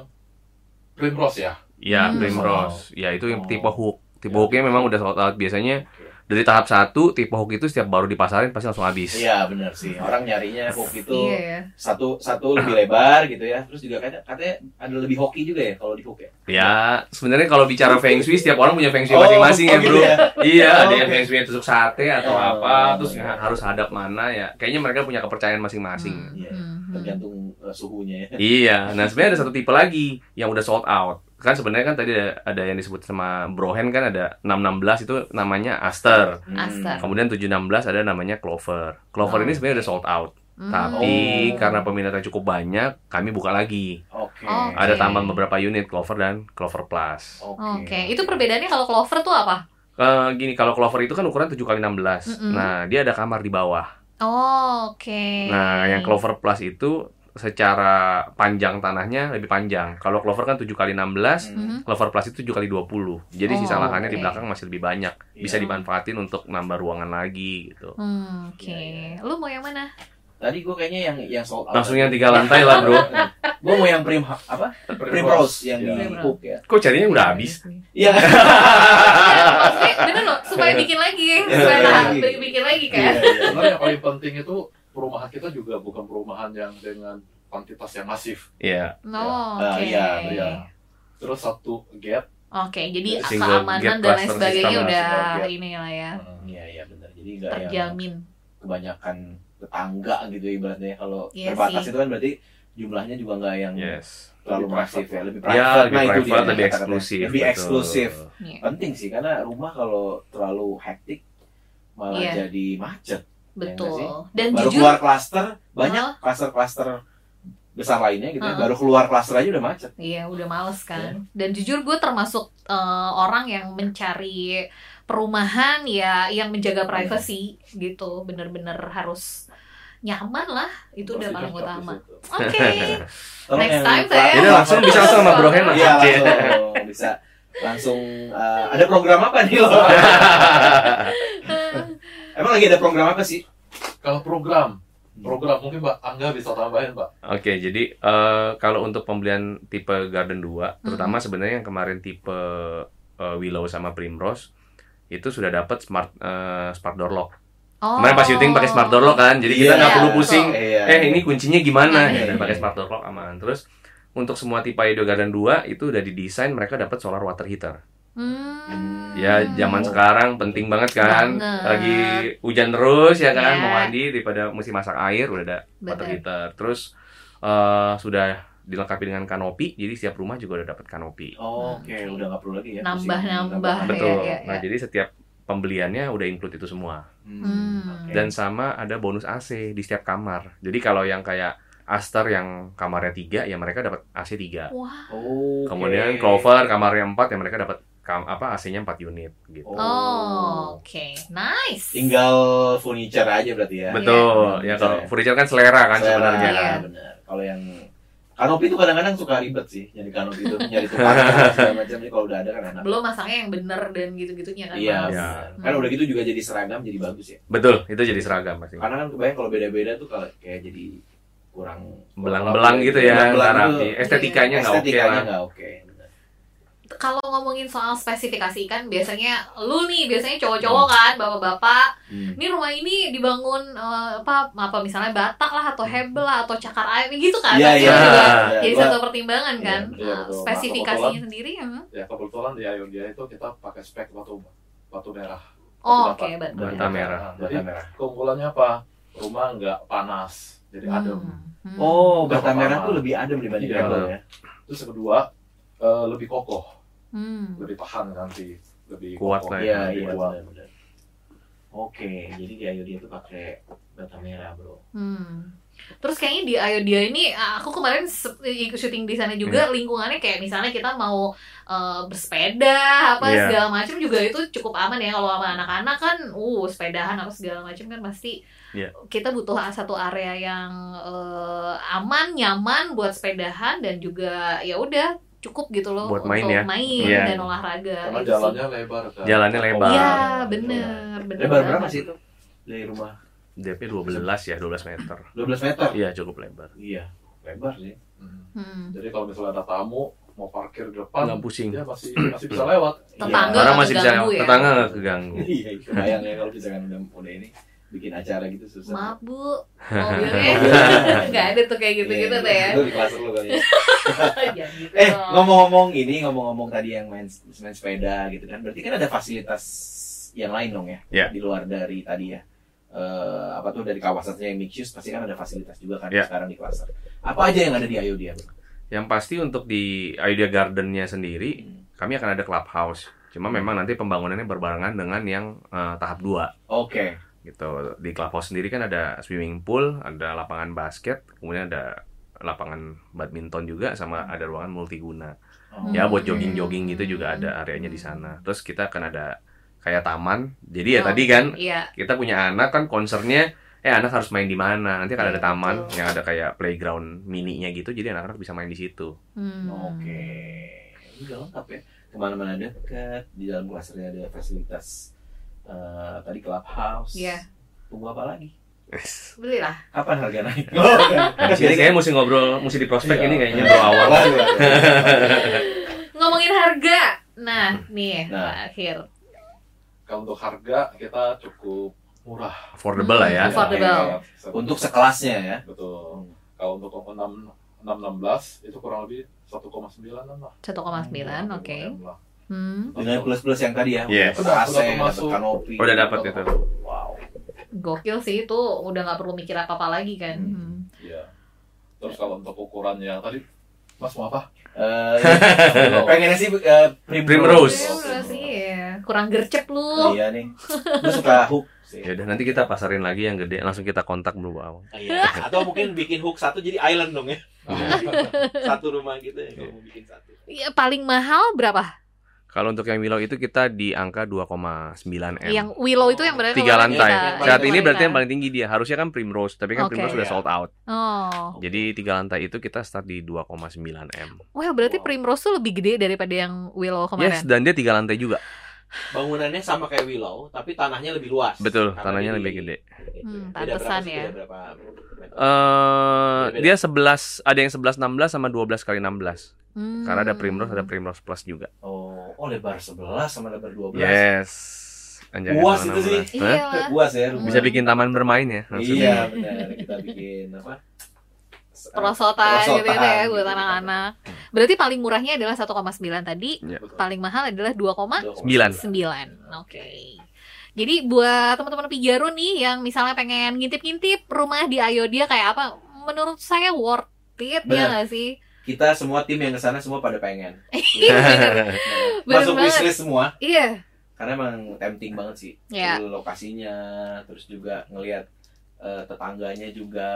D: Primrose ya.
C: ya
B: Hmm.
C: primrose ya itu yang
A: Oh.
C: tipe hook tipe
D: Ya,
C: hooknya
D: tipe
C: memang
D: hook.
C: udah sold out biasanya dari tahap satu tipe hook itu setiap baru dipasarin pasti langsung habis
A: Iya, benar sih. Orang nyarinya hook itu
B: Iya ya.
A: satu satu lebih lebar gitu ya. Terus juga katanya, katanya ada lebih hoki juga ya kalau di hook ya.
C: Ya, sebenarnya kalau bicara feng shui, setiap orang punya feng
A: Oh,
C: shui masing-masing ya,
A: oh,
C: bro.
A: gitu ya.
C: Iya, ada yang
A: Oke.
C: feng shui yang tusuk sate atau
A: Oh,
C: apa, terus
A: iya.
C: ha- harus hadap mana ya. Kayaknya mereka punya kepercayaan masing-masing.
B: Hmm,
A: Iya.
B: hmm, hmm.
A: Tergantung eh, suhunya ya.
C: Iya, nah sebenarnya ada satu tipe lagi yang udah sold out. Kan sebenarnya kan tadi ada, ada yang disebut sama Brohen kan ada 616 itu namanya Aster.
B: Aster.
C: Kemudian 716 ada namanya Clover.
B: Oh,
C: Clover ini sebenarnya udah sold out.
B: Hmm.
C: Tapi
A: Oh.
C: karena peminatnya cukup banyak, kami buka lagi.
A: Hmm, Oke. Oh.
B: Oke.
C: Ada tambahan beberapa unit Clover dan Clover Plus.
B: Oh, Oke, itu perbedaannya kalau clover tuh apa?
C: Eh, gini kalau clover itu kan ukuran 7 kali 16.
B: Mm-mm.
C: Nah, dia ada kamar di bawah.
B: Oh, oke.
C: Nah, yang clover plus itu secara panjang tanahnya lebih panjang. Kalau clover kan 7 kali 16,
A: Hmm,
B: Mm-hmm.
C: clover plus itu 7 kali 20. Jadi
B: Oh,
C: sisa lahannya
B: oke.
C: di belakang masih lebih banyak.
A: iya.
C: Bisa dimanfaatin untuk nambah ruangan lagi gitu.
B: Hmm, oke.
A: Iya,
B: Lu mau yang mana?
A: Tadi gue kayaknya yang yang sold out.
C: Langsung ya. yang tiga lantai lah, Bro.
A: gue mau yang prim apa? Primrose yang
D: Iya.
A: di hook ya.
C: Kok carinya udah habis?
A: Iya.
B: ya? Iya, maksudnya bener loh, supaya bikin lagi, supaya
A: iya,
B: tahan,
A: iya.
B: bikin lagi
D: Iya,
B: kan.
D: iya. Sebenarnya yang paling penting itu perumahan kita juga bukan perumahan yang dengan kuantitas yang masif.
C: Iya.
B: Oh,
A: Ah,
B: oke.
A: iya,
D: iya. Terus satu gate.
B: Oke, jadi
C: Jadi single
B: keamanan
C: gap
B: dan lain
C: cluster
B: sebagainya
C: system,
B: udah
D: single gap.
B: ini lah ya,
A: Iya iya benar. Jadi nggak yang
B: terjamin.
A: kebanyakan tetangga gitu ya, ibaratnya kalau
B: Iya
A: terbatas
B: sih.
A: itu kan berarti jumlahnya juga nggak yang
C: Yes.
A: terlalu
D: Lebih
A: masif ya,
D: private.
A: lebih private.
C: Iya, Ya,
A: Nah, itu
C: lebih
A: dia
C: private, lebih
A: kata-katanya.
C: eksklusif.
A: Lebih
C: betul.
A: eksklusif.
B: Iya,
A: Penting sih karena rumah kalau terlalu hektik malah
B: Iya.
A: jadi macet. sih?
B: betul. Dan
A: baru
B: jujur,
A: keluar klaster banyak klaster-klaster besar lainnya gitu ya.
B: Heeh.
A: Baru keluar klaster aja udah macet.
B: Iya, udah males kan. Dan jujur gue termasuk eh, orang yang mencari perumahan ya yang menjaga privasi gitu. Bener-bener harus nyaman lah. Itu udah
D: terus
B: paling
D: dicocok di
B: utama.
D: situ.
B: Oke.
A: Tolong
B: Next
A: yang
B: time
A: kla-
B: saya-
C: Jadi langsung bisa langsung sama Bro Hen
A: Iya
C: langsung.
A: langsung bisa langsung eh, ada program apa nih lo? Emang lagi ada program apa sih?
D: Kalau program, program mungkin Mbak Angga bisa tambahin Mbak.
C: Oke, jadi eh, kalau untuk pembelian tipe Garden
A: Hmm.
C: 2, terutama sebenarnya yang kemarin tipe eh, Willow sama Primrose itu sudah dapat smart eh, smart door lock.
B: Oh.
C: Kemarin pas syuting pakai smart door lock kan, jadi kita
A: Iya,
C: nggak perlu
B: betul.
C: pusing.
A: Iya.
C: Eh ini kuncinya gimana?
A: Iya,
C: Ya, udah
A: iya,
C: pakai
A: iya.
C: smart door lock aman. Terus untuk semua tipe Edo Garden 2 itu udah didesain mereka dapat solar water heater.
B: Hmm.
C: Ya zaman sekarang penting banget kan,
B: Banget.
C: lagi hujan terus ya kan,
B: Iya.
C: mau mandi daripada mesti masak air udah ada water
B: Bener.
C: heater. Terus eh, sudah dilengkapi dengan kanopi, jadi setiap rumah juga udah dapat kanopi.
A: Oke, udah nggak perlu lagi ya.
B: Nambah-nambah. Ah,
C: Betul.
B: iya, iya,
C: Nah,
B: iya.
C: jadi setiap pembeliannya udah include itu semua.
B: Hmm.
C: Dan sama ada bonus AC di setiap kamar. Jadi kalau yang kayak Aster yang kamarnya 3 ya mereka dapat AC 3.
B: Wah.
A: oh,
C: Kemudian Clover kamarnya 4 ya mereka dapat kam- apa AC-nya 4 unit
A: Iya,
C: gitu.
D: Oh.
B: Oh, oke. Nice.
A: Tinggal furniture aja berarti ya.
C: Betul.
A: Iya.
C: Ya kalau furniture kan selera kan
A: Selera,
C: sebenarnya
B: iya.
C: kan.
A: Benar. Kalau yang kanopi itu kadang-kadang suka ribet sih nyari kanopi itu nyari tukang segala macam Jadi kalau udah ada kan enak.
B: Belum masangnya yang bener dan gitu-gitunya kan.
A: Iya.
B: Mas?
C: Iya.
A: Kan udah gitu juga jadi seragam jadi bagus ya.
C: Betul, itu jadi seragam pasti.
A: Karena kan kebayang kalau beda-beda tuh kalau kayak jadi kurang
C: Belang-belang gitu ya
A: Belang-belang
C: antara
A: tuh.
C: nih. estetikanya nggak oke
A: Estetikanya
C: lah.
A: nggak oke. benar.
B: Kalau ngomongin soal spesifikasi ikan, biasanya lu nih, biasanya cowok-cowok kan, bapak-bapak,
A: Hmm.
B: ini rumah ini dibangun eh, apa apa misalnya batak lah atau hebel lah atau cakar air gitu kan?
A: Iya
B: Pasti
A: iya.
B: itu juga
A: iya.
B: Jadi
A: Gua-
B: satu pertimbangan kan.
A: Iya,
D: betul,
B: Nah,
D: betul.
B: spesifikasinya
D: Kebetulan-
B: sendiri ya.
D: Ya kebetulan di Ayodhya itu kita pakai spek batu batu merah.
B: Oh,
D: Batu
B: oke,
D: dapat.
B: batu
C: Bata merah.
D: Nah,
A: Bata
D: Jadi
A: merah.
D: keunggulannya apa? Rumah nggak panas, jadi adem.
B: Hmm.
A: Oh, bata
D: Nggak apa-apa.
A: merah tuh lebih adem dibanding
D: Iya.
A: hebel ya.
D: Terus yang kedua eh, lebih kokoh,
B: Hmm.
D: lebih tahan nanti, lebih
C: Kuat
D: kokoh,
C: lah
A: Iya,
D: lebih
A: iya
D: kuat.
A: benar-benar. Oke, jadi di Ayodhya tuh pakai bata merah, Bro.
B: Hmm. Terus kayaknya di Ayodhya ini ah, aku kemarin se- ikut syuting di sana juga
C: Iya.
B: lingkungannya kayak misalnya kita mau eh, bersepeda apa
C: Iya.
B: segala macam juga itu cukup aman ya kalau sama anak-anak kan uh sepedahan apa segala macam kan pasti
C: Iya.
B: kita butuh satu area yang eh, aman nyaman buat sepedahan dan juga ya udah cukup gitu loh
C: Buat main
B: untuk
C: ya.
B: main
C: Iya.
B: dan olahraga
D: Karena
B: Ya, itu sih.
D: jalannya lebar kan.
C: Jalannya lebar.
B: Iya,
D: Kokoh.
B: bener, bener.
A: Lebar Iya. berapa sih itu? Dari rumah
C: DP 12 ya, 12 meter.
A: 12 meter.
C: Iya, cukup lebar.
A: Iya, lebar sih.
D: Hmm.
B: Hmm.
D: Jadi kalau misalnya ada tamu mau parkir di
A: Oh.
D: depan,
C: Nggak pusing.
D: dia masih masih bisa lewat.
B: Tetangga
C: Orang
B: nggak
C: masih bisa
B: keganggu ya?
C: tetangga nggak keganggu.
A: Iya, itu bayang ya kalau misalkan udah udah ini bikin acara gitu susah.
B: Maaf bu,
C: Iya,
B: mobilnya nggak ada tuh kayak gitu-gitu tuh ya.
A: Itu di kelas lu kali. ya.
B: Jangan gitu
A: Eh,
B: dong.
A: ngomong-ngomong ini, ngomong-ngomong tadi yang main main sepeda gitu kan. Berarti kan ada fasilitas yang lain dong ya
C: Iya.
A: di luar dari tadi ya. Eh, apa tuh dari kawasannya yang mixed use pasti kan ada fasilitas juga kan
C: Iya.
A: sekarang di klaster. Apa aja yang ada di Ayodhya? Bro?
C: Yang pasti untuk di Idea Garden-nya sendiri, kami akan ada clubhouse. Cuma memang nanti pembangunannya berbarengan dengan yang eh, tahap 2
A: Oke.
C: gitu. Di clubhouse sendiri kan ada swimming pool, ada lapangan basket, kemudian ada lapangan badminton juga sama ada ruangan multiguna.
A: Oh.
C: Ya buat
B: Hmm.
C: jogging-jogging gitu juga ada areanya di sana. Terus kita akan ada kayak taman. Jadi ya tadi kan
B: Iya.
C: kita punya anak kan konsernya eh anak harus main di mana nanti akan
B: Iya,
C: ada taman
B: betul.
C: yang ada kayak playground mininya gitu jadi anak-anak bisa main di situ
B: Hmm.
A: Oke. Udah lengkap ya. Kemana-mana dekat. Di dalam klasternya ada fasilitas eh, tadi clubhouse.
B: Iya.
A: Tunggu apa lagi?
B: Belilah.
A: Kapan harga naik? Oh, kan.
C: jadi saya mesti ngobrol mesti di prospek
A: Iya.
C: ini kayaknya bro awal
A: Waduh, waduh.
B: Ngomongin harga. Nah, nih
A: Nah.
B: akhir.
D: Kalau untuk harga kita cukup murah. Iya,
C: affordable lah ya
B: Hmm, affordable.
A: Untuk sekelasnya ya.
D: Betul. Kalau untuk 6 616 itu kurang lebih 1,9 lah.
B: 1,9, oke.
D: Lumayan lah.
B: Hmm,
A: Dengan plus plus yang tadi ya.
C: Iya.
A: Udah
D: Udah-
A: AC,
D: udah
A: dapat
D: masuk.
A: kanopi.
C: Udah dapat itu.
A: Wow.
B: gokil sih itu udah nggak perlu mikir apa-apa lagi kan. Hmm.
D: Iya. Terus kalau untuk ukurannya tadi Mas mau apa?
A: Eh, ya, pengennya sih eh,
C: Primrose.
B: Ya, udah sih ya. Kurang gercep lu.
A: Iya nih. Gue suka hook sih.
C: ya udah nanti kita pasarin lagi yang gede langsung kita kontak bro awal
A: Iya. Atau mungkin bikin hook satu jadi island dong ya. Satu rumah gitu ya kalau mau bikin satu.
B: Ya, paling mahal berapa?
C: kalau untuk yang Willow itu kita di angka 2,9 m
B: Yang willow itu yang berarti Iya,
C: tiga
B: kalau
C: lantai
B: kita-
A: Yang paling
C: saat ini berarti yang
B: kita-
C: paling tinggi dia harusnya kan Primrose tapi kan
B: Oke.
C: Primrose sudah
A: Iya.
C: sold out
B: Oh.
C: jadi tiga lantai itu kita start di 2,9 m
B: Wah, berarti
A: Wow.
B: Primrose tuh lebih gede daripada yang willow Oh, kemarin.
C: yes dan dia tiga lantai juga
A: Bangunannya sama kayak Willow, tapi tanahnya lebih luas.
C: betul
A: Karena di-
C: tanahnya lebih gede
A: gitu Beda
B: Hmm,
A: berapa
B: pantesan
A: sih,
B: ya.
A: beda berapa meter?
C: eh
A: Beda-beda.
C: dia 11 ada yang 11 16 sama 12 kali 16.
B: Hmm.
C: Karena ada Primrose, ada Primrose Plus juga.
A: Oh, oh lebar 11 sama lebar 12.
C: Yes. Anjay,
A: Puas
C: kemana-mana.
A: itu sih.
B: Iya
C: Hah?
B: lah.
A: Puas ya.
C: Bisa bikin taman bermain ya. maksudnya.
A: Iya, benar. Kita bikin apa? Ah,
B: perosotan
A: Perosotan.
B: gitu ya buat anak-anak.
C: Hmm.
B: Berarti paling murahnya adalah 1,9 tadi,
D: Betul.
B: paling mahal adalah 2,9.
C: Iya. Sembilan.
B: Oke. Jadi buat teman-teman Pijaro nih yang misalnya pengen ngintip-ngintip rumah di Ayodhya kayak apa, menurut saya worth it ya
A: Bener.
B: nggak sih?
A: Kita semua tim yang kesana semua pada pengen. Nah,
B: Iya, bener. Bener
A: Masuk
B: banget.
A: wishlist semua.
B: Iya.
A: Karena emang tempting banget sih.
B: Ya.
A: Lokasinya, terus juga ngelihat eh, tetangganya juga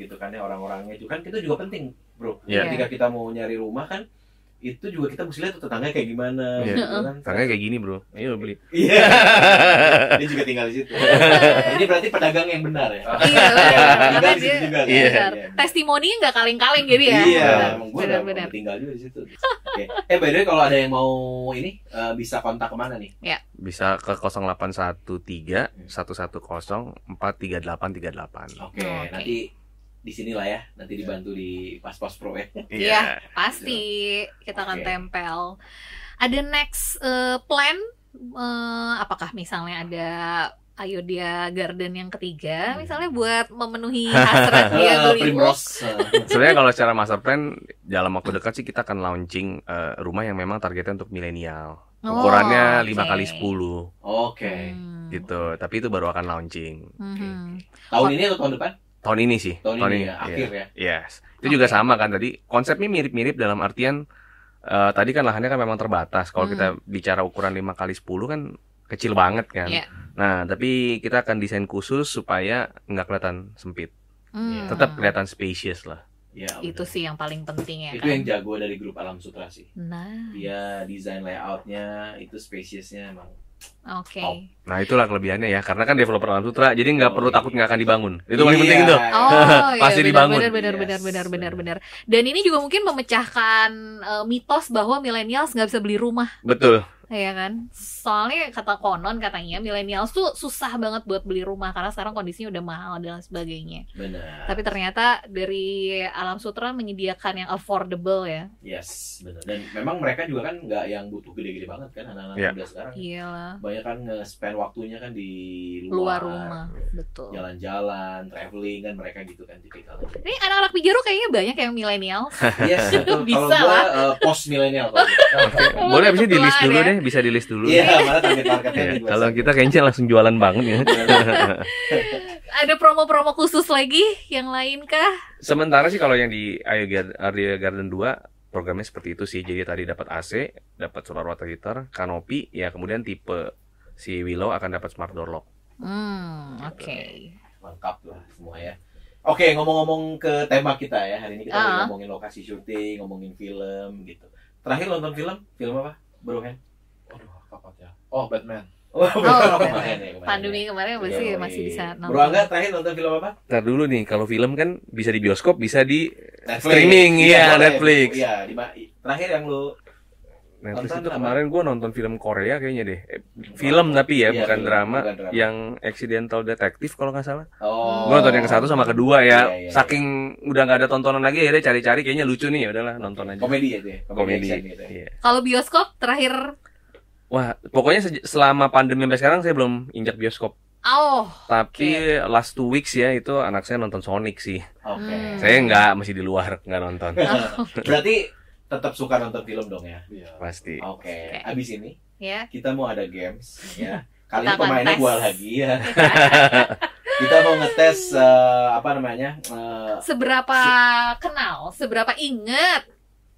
A: gitu kan ya orang-orangnya juga kan kita juga penting bro
C: Iya.
A: ketika kita mau nyari rumah kan itu juga kita mesti lihat tuh tetangganya kayak gimana
C: Iya.
A: gitu kan.
C: Tangannya kayak gini bro, ayo beli.
A: Iya. Dia juga tinggal di situ. Ini berarti pedagang yang benar ya.
B: Iya, benar. Karena
A: tinggal di
B: dia
A: situ juga. kan?
C: Iya.
B: benar. testimoninya nggak kaleng-kaleng jadi ya.
A: Iya,
B: Benar,
A: emang gue udah
B: Benar-benar.
A: tinggal juga di situ. Oke. Eh by the way kalau ada yang mau ini eh, bisa kontak kemana nih?
C: Bisa ke 0813 110 43838.
A: Oke,
B: Oke.
A: nanti di sini lah ya, nanti dibantu di pas-pas pro ya.
B: Iya. Pasti kita
A: Gitu.
B: akan
A: Oke.
B: tempel. Ada next eh, plan eh, apakah misalnya ada Ayodhya Garden yang ketiga
A: Hmm.
B: misalnya buat memenuhi hasrat dia
A: Eh,
B: beli book.
A: Primrose.
B: Iya.
A: Eh,
C: Sebenarnya kalau secara master plan dalam waktu dekat sih kita akan launching eh, rumah yang memang targetnya untuk milenial.
B: Oh,
C: Ukurannya 5
B: oke.
C: kali 10
A: Oke. Iya.
B: Hmm.
C: gitu. Tapi itu baru akan launching
B: Mhm.
A: Tahun ini atau tahun depan?
C: tahun ini sih.
A: Tahun, ini ya,
C: iya.
A: akhir ya.
C: Yes. Itu juga sama kan tadi konsepnya mirip-mirip dalam artian eh, tadi kan lahannya kan memang terbatas. Kalau
B: Hmm.
C: kita bicara ukuran 5 kali 10 kan kecil banget kan.
B: Iya.
C: Nah, tapi kita akan desain khusus supaya nggak kelihatan sempit.
B: Hmm.
C: Tetap kelihatan spacious lah.
A: Iya,
B: itu
A: benar.
B: sih yang paling penting ya
A: Itu
B: kan?
A: yang jago dari grup Alam Sutra sih.
B: Nah,
A: Dia desain layoutnya, itu spaciousnya emang.
B: oke.
A: Top.
C: Nah, itulah kelebihannya ya. Karena kan developer alam sutra, jadi nggak
A: Oh,
C: perlu
A: iya.
C: takut nggak akan dibangun. Itu
B: Iya.
C: paling penting tuh.
B: Oh, iya,
C: Pasti
B: benar,
C: dibangun.
B: Benar, benar,
A: Yes,
B: benar, benar, benar, benar.
A: benar.
B: Dan ini juga mungkin memecahkan eh, mitos bahwa milenials nggak bisa beli rumah,
C: Betul.
B: ya kan? Soalnya kata konon katanya milenials tuh susah banget buat beli rumah karena sekarang kondisinya udah mahal dan lain sebagainya.
A: Benar.
B: Tapi ternyata dari Alam Sutra menyediakan yang affordable ya.
A: Yes, benar. Dan memang mereka juga kan nggak yang butuh gede-gede banget kan anak-anak
C: Iya.
A: muda sekarang.
B: Iyalah,
A: Banyak kan nge-spend waktunya kan di
B: luar
A: luar, Ya.
B: rumah, betul.
A: Jalan-jalan, traveling kan mereka gitu kan tipikalnya.
B: Ini anak-anak pijaro kayaknya banyak ya, yang milenials.
A: Yes, betul.
B: Bisa
A: Kalau gua eh, post milenial kalau gua.
C: Boleh abis itu di list
B: Ketuaan
C: dulu
B: ya.
C: deh, bisa di list dulu.
A: Iya, malah target marketnya
C: Iya,
A: di gua
C: Kalau
A: sih.
C: kita kayaknya langsung jualan banget ya.
B: Ada promo-promo khusus lagi yang lain kah?
C: Sementara sih kalau yang di Ayo Gar- Area Garden 2 programnya seperti itu sih. Jadi tadi dapat AC, dapat solar water heater, kanopi, ya kemudian tipe si Willow akan dapat smart door lock.
B: Hmm, oke.
A: Lengkap lah semua ya. Oke, ngomong-ngomong ke tema kita ya. Hari ini kita lagi
B: Ah.
A: ngomongin lokasi syuting, ngomongin film gitu. Terakhir nonton film, film apa? Bro Hen?
D: Aduh, kapan ya? Oh, Batman.
A: Oh, kemarin
B: Batman.
A: ya, kemarin
B: pandemi kemarin
A: ya.
B: Iya, masih
A: Yoi.
B: masih bisa nonton.
A: Bro Angga terakhir nonton film apa?
C: Ntar dulu nih, kalau film kan bisa di bioskop, bisa di
A: Netflix.
C: Streaming, iya,
A: boleh.
C: Netflix.
A: Iya, di ma- terakhir yang lu
C: Netflix
A: Nonton
C: itu
A: apa?
C: kemarin gue nonton film Korea kayaknya deh. Eh, Film tapi
A: Iya,
C: ya, bukan
A: film,
C: drama.
A: bukan drama.
C: Yang Accidental Detective kalau nggak salah.
A: Oh.
C: Gue nonton yang satu sama kedua
A: Iya,
C: ya.
A: iya, iya.
C: Saking udah nggak ada tontonan lagi ya, cari-cari kayaknya lucu nih. ya Udahlah nonton aja.
A: Komedi ya itu ya.
C: Komedi.
A: action gitu ya.
C: Iya.
B: Kalau bioskop terakhir
C: Wah, pokoknya sej- selama pandemi sampai sekarang saya belum injak bioskop.
B: oh
C: Tapi last two weeks ya itu anak saya nonton Sonic sih.
A: Oke.
B: Hmm.
C: Saya nggak masih di luar nggak nonton
A: Berarti tetap suka nonton film dong ya.
D: Iya.
C: pasti.
B: Oh.
A: Oke.
B: Oke.
A: Abis ini
B: ya.
A: kita mau ada games ya. Kali ini
B: Kita akan
A: pemainnya
B: tes.
A: gua lagi ya. kita mau ngetes eh, apa namanya? eh,
B: Seberapa kenal, seberapa inget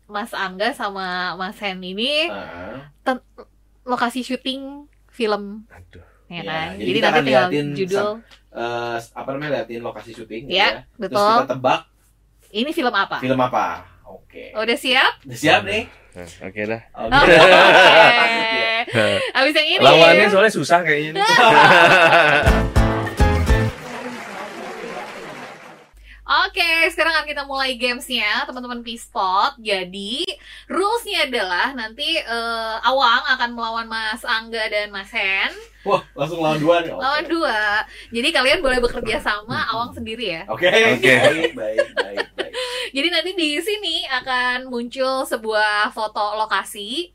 B: Mas Angga sama Mas Hen ini
A: eh,
B: lokasi syuting film
C: Aduh.
B: ya
A: Iya,
B: kan.
A: jadi
B: Jadi
A: kita
B: nanti
A: akan
B: tinggal
A: liatin
B: judul.
A: eh, apa namanya? Liatin lokasi syuting gitu
B: Ya,
A: ya. Terus kita
B: betul.
A: tebak
B: Ini film apa?
A: film apa. Oke.
B: Udah siap?
A: Udah Siap nih?
C: Nah, Oke dah.
A: Oke.
B: Oke. Abis yang ini. ya.
C: Lawannya soalnya susah kayaknya. nih.
B: Oke, sekarang akan kita mulai gamesnya, teman-teman P-Spot. Jadi, rulesnya adalah nanti eh, Awang akan melawan Mas Angga dan Mas Hen.
A: Wah, langsung lawan dua nih. Oke. Hmm.
B: Lawan dua. Jadi, kalian boleh bekerja sama Awang sendiri ya.
A: Oke.
C: Oke.
A: Baik, baik, baik, baik.
B: Jadi, nanti di sini akan muncul sebuah foto lokasi.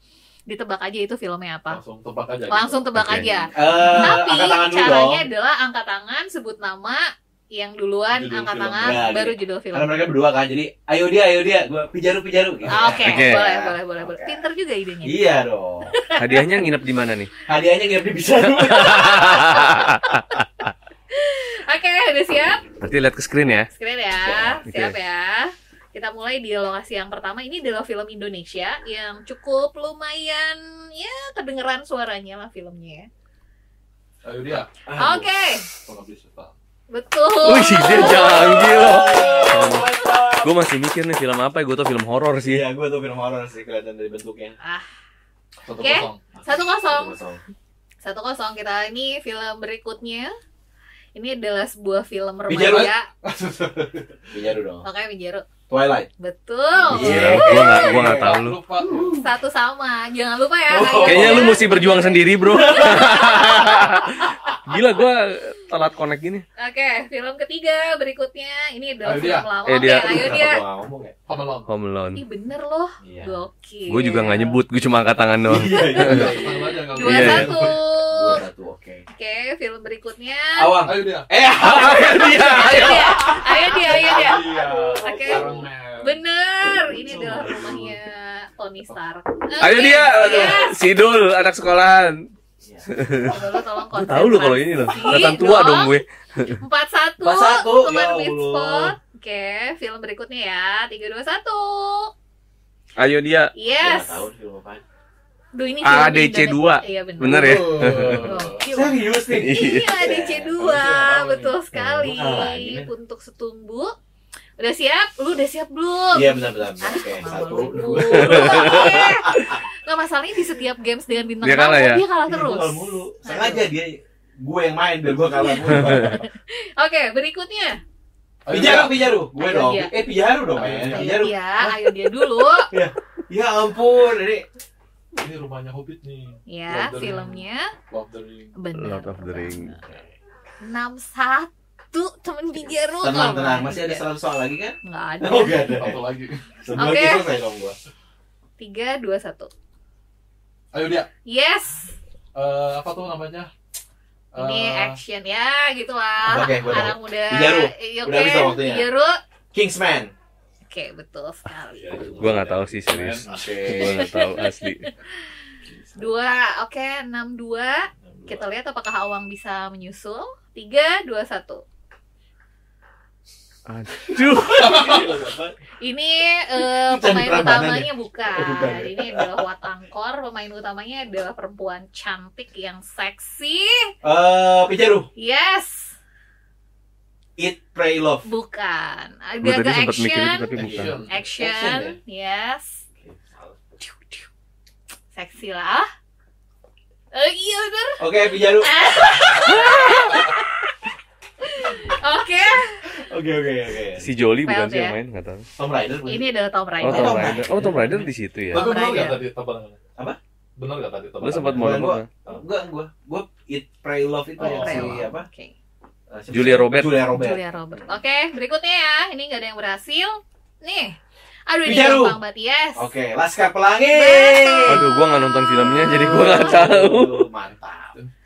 B: Ditebak aja itu filmnya apa.
D: Langsung tebak aja. gitu.
B: Langsung tebak
C: Oke.
B: aja.
A: Oh, Eh,
B: Tapi
A: angkat tangan dulu dong.
B: caranya adalah angkat tangan, sebut nama yang duluan
D: Judul
B: angkat
D: film.
B: tangan,
A: Nah,
B: baru judul film.
A: Karena mereka berdua kan, jadi ayo dia, ayo dia, gua pijaru pijaru. Gitu.
B: Ah, Oke,
C: Oke.
B: boleh, boleh, boleh, boleh.
A: Oke.
B: Pinter juga idenya.
A: Iya dong.
C: Hadiahnya nginep di mana nih?
A: Hadiahnya nggak beli bisa dulu.
B: Oke, udah siap?
C: Nanti lihat ke screen ya.
B: Screen ya.
C: Oke.
B: Siap ya. Kita mulai di lokasi yang pertama. Ini adalah film Indonesia yang cukup lumayan ya kedengeran suaranya lah filmnya ya.
D: Ayo dia.
A: Ah,
B: Oke,
D: Pengabdi setan.
B: betul.
C: Wih, dia canggih loh.
A: Oh, my God.
C: gue masih mikir nih film apa ya gue tau film horor sih
A: Iya, gue tuh film horor sih kelihatan dari bentuknya.
B: Ah,
D: Satu
B: Oke.
D: kosong.
B: Satu kosong.
A: Kosong.
B: Satu kosong kita ini film berikutnya. Ini adalah sebuah film
A: Pijaru.
B: remaja.
A: Pinjaru dong.
B: Oke, Mijaru.
A: Twilight.
B: Betul.
A: Iya.
C: gue gak gue gak tahu lu
D: Lupa.
B: Satu sama. Jangan lupa ya. kalian
D: Oh,
C: kayaknya
B: ya.
C: lu mesti berjuang sendiri bro gila gue telat connect gini
B: Oke, film ketiga berikutnya ini adalah
D: Ayo
B: film
D: dia.
B: lama.
C: Eh,
B: Oke,
C: dia.
B: ayo
A: Kenapa
B: dia.
A: gua nggak ngomong ya?
D: Home Alone.
C: Home Alone
B: Ih bener loh,
A: Iya.
B: gokil.
C: gue juga nggak nyebut gue cuma angkat tangan doang
A: Iya, iya, iya.
D: Sama aja, nggak
B: Dua
C: Iya,
D: apa-apa.
C: iya.
B: satu.
A: Dua satu, oke.
B: Oke, film berikutnya.
A: Awang.
D: Ayo dia.
A: Eh,
C: Iya,
B: Ayo dia, ayo dia, ayo dia.
D: Iya.
B: Oke. ya?
D: Iron Man.
B: Bener, ini adalah rumahnya Tony Stark.
C: ayo
B: Oke, Iya.
C: dia
B: yes.
C: Sidul anak sekolahan
A: Iya.
B: Dulu tolong
C: gue tahu lu kalau ini loh
B: Iya,
C: datang tua dong gue
B: Empat satu.
A: Empat satu,
B: Teman
A: ya
B: Beat
A: Allah.
B: Spot. Oke, film berikutnya ya. Tiga dua satu.
C: ayo dia
A: Gua
B: Yes.
A: nggak tahu nih film apaan.
B: Duh ini film
C: ADC
B: di Indonesia.
C: dua.
B: Iya bener.
C: Bener ya?
B: Gokil.
A: Serius nih.
B: Iya, DC
D: Iya.
B: 2 betul sekali.
A: Bukan lagi, men.
B: Untuk setumbu. Udah siap? Lu udah siap belum?
A: Iya, benar benar. benar.
B: Ah,
A: Oke, satu, dua.
B: Gak masalahnya di setiap games dengan bintang
C: Dia kalah
B: tamu,
C: ya?
B: dia
A: Iya,
B: kalah Ah, terus.
A: gua kalah mulu. Sengaja dia gue yang main biar gue kalah mulu.
B: Iya. Oke, berikutnya.
D: Ayo
A: Pijaru,
D: dia.
A: pijaru. Gue
B: Ayo
A: dong.
B: dia.
A: Eh, pijaru dong. men. Pijaru.
D: Ayo
B: Ayo dia, Iya, ayo dia dulu.
A: Ya ampun, ini
D: Ini rumahnya Hobbit nih.
B: Ya,
D: Lord of the Ring.
B: filmnya
D: Lord of the Ring.
B: benar.
C: Lord of the Ring.
B: 61 temen Pijaru.
A: tenang tenang masih
B: Iya.
A: ada 100 soal lagi kan?
B: Enggak ada.
A: Oh, enggak ada.
D: Satu lagi.
A: Sebelum
B: Oke.
A: kita selesai dong gua.
B: 3 2 1.
D: Ayo dia.
B: Yes.
D: Eh, apa tuh namanya?
B: Ini
D: Eh,
B: action ya gitu lah.
A: Oke, gua
B: Anak muda.
A: Pijaru.
B: Iya,
A: Udah
B: oke.
A: habis dong waktunya.
B: Pijaru.
A: Kingsman.
B: Oke, betul sekali.
C: gue Iya, nggak tahu sih serius gue
A: Oke.
C: nggak tahu asli
B: Dua, oke, enam dua. Kita lihat apakah Awang bisa menyusul. Tiga, dua, satu.
C: aduh
B: Ini eh,
A: Candi
B: pemain
A: Prambanan
B: utamanya bukan.
A: Oh, bukan ya.
B: Ini adalah Wat Angkor. Pemain utamanya adalah perempuan cantik yang seksi.
A: Eh, pijaru.
B: Yes,
A: Eat, pray, love.
B: bukan.
C: gue
B: Ada
C: tadi
B: ke
C: sempat mikir itu
B: action.
C: tapi bukan Iya.
D: Action.
A: Action,
B: Action, yes. Seksi lah. Ah. Eh, iya bener.
A: Oke, pijaru.
B: Oke.
A: Oke, oke, oke.
C: si Jolly
B: Failed
C: bukan sih yang
B: ya?
C: main nggak tahu
A: Tom Rider. bukan?
B: Ini adalah Tom
C: oh
B: Rider.
C: Tom
A: Tom
C: Rider oh Tom Rider di situ ya
D: Tapi benar
B: Apa
D: nggak
B: aja?
D: tadi tebakannya?
A: Apa?
D: Benar nggak tadi tebakannya?
C: lu sempat mau
A: Bukan gua.
C: nonton
A: Gua Oh, gua gua eat, pray, love itu
D: Oh,
A: yang si
B: Oke.
A: apa? Eh, si-
C: Julia Robert.
A: Julia Robert.
B: Julia Robert. Oke, berikutnya ya. Ini nggak ada yang berhasil. Nih. Aduh, ini
A: Pijaru.
B: gampang banget. Yes.
A: Oke, Laskar Pelangi.
B: Betul.
C: aduh gue nggak nonton filmnya jadi gue nggak tahu
A: Aduh, Mantap.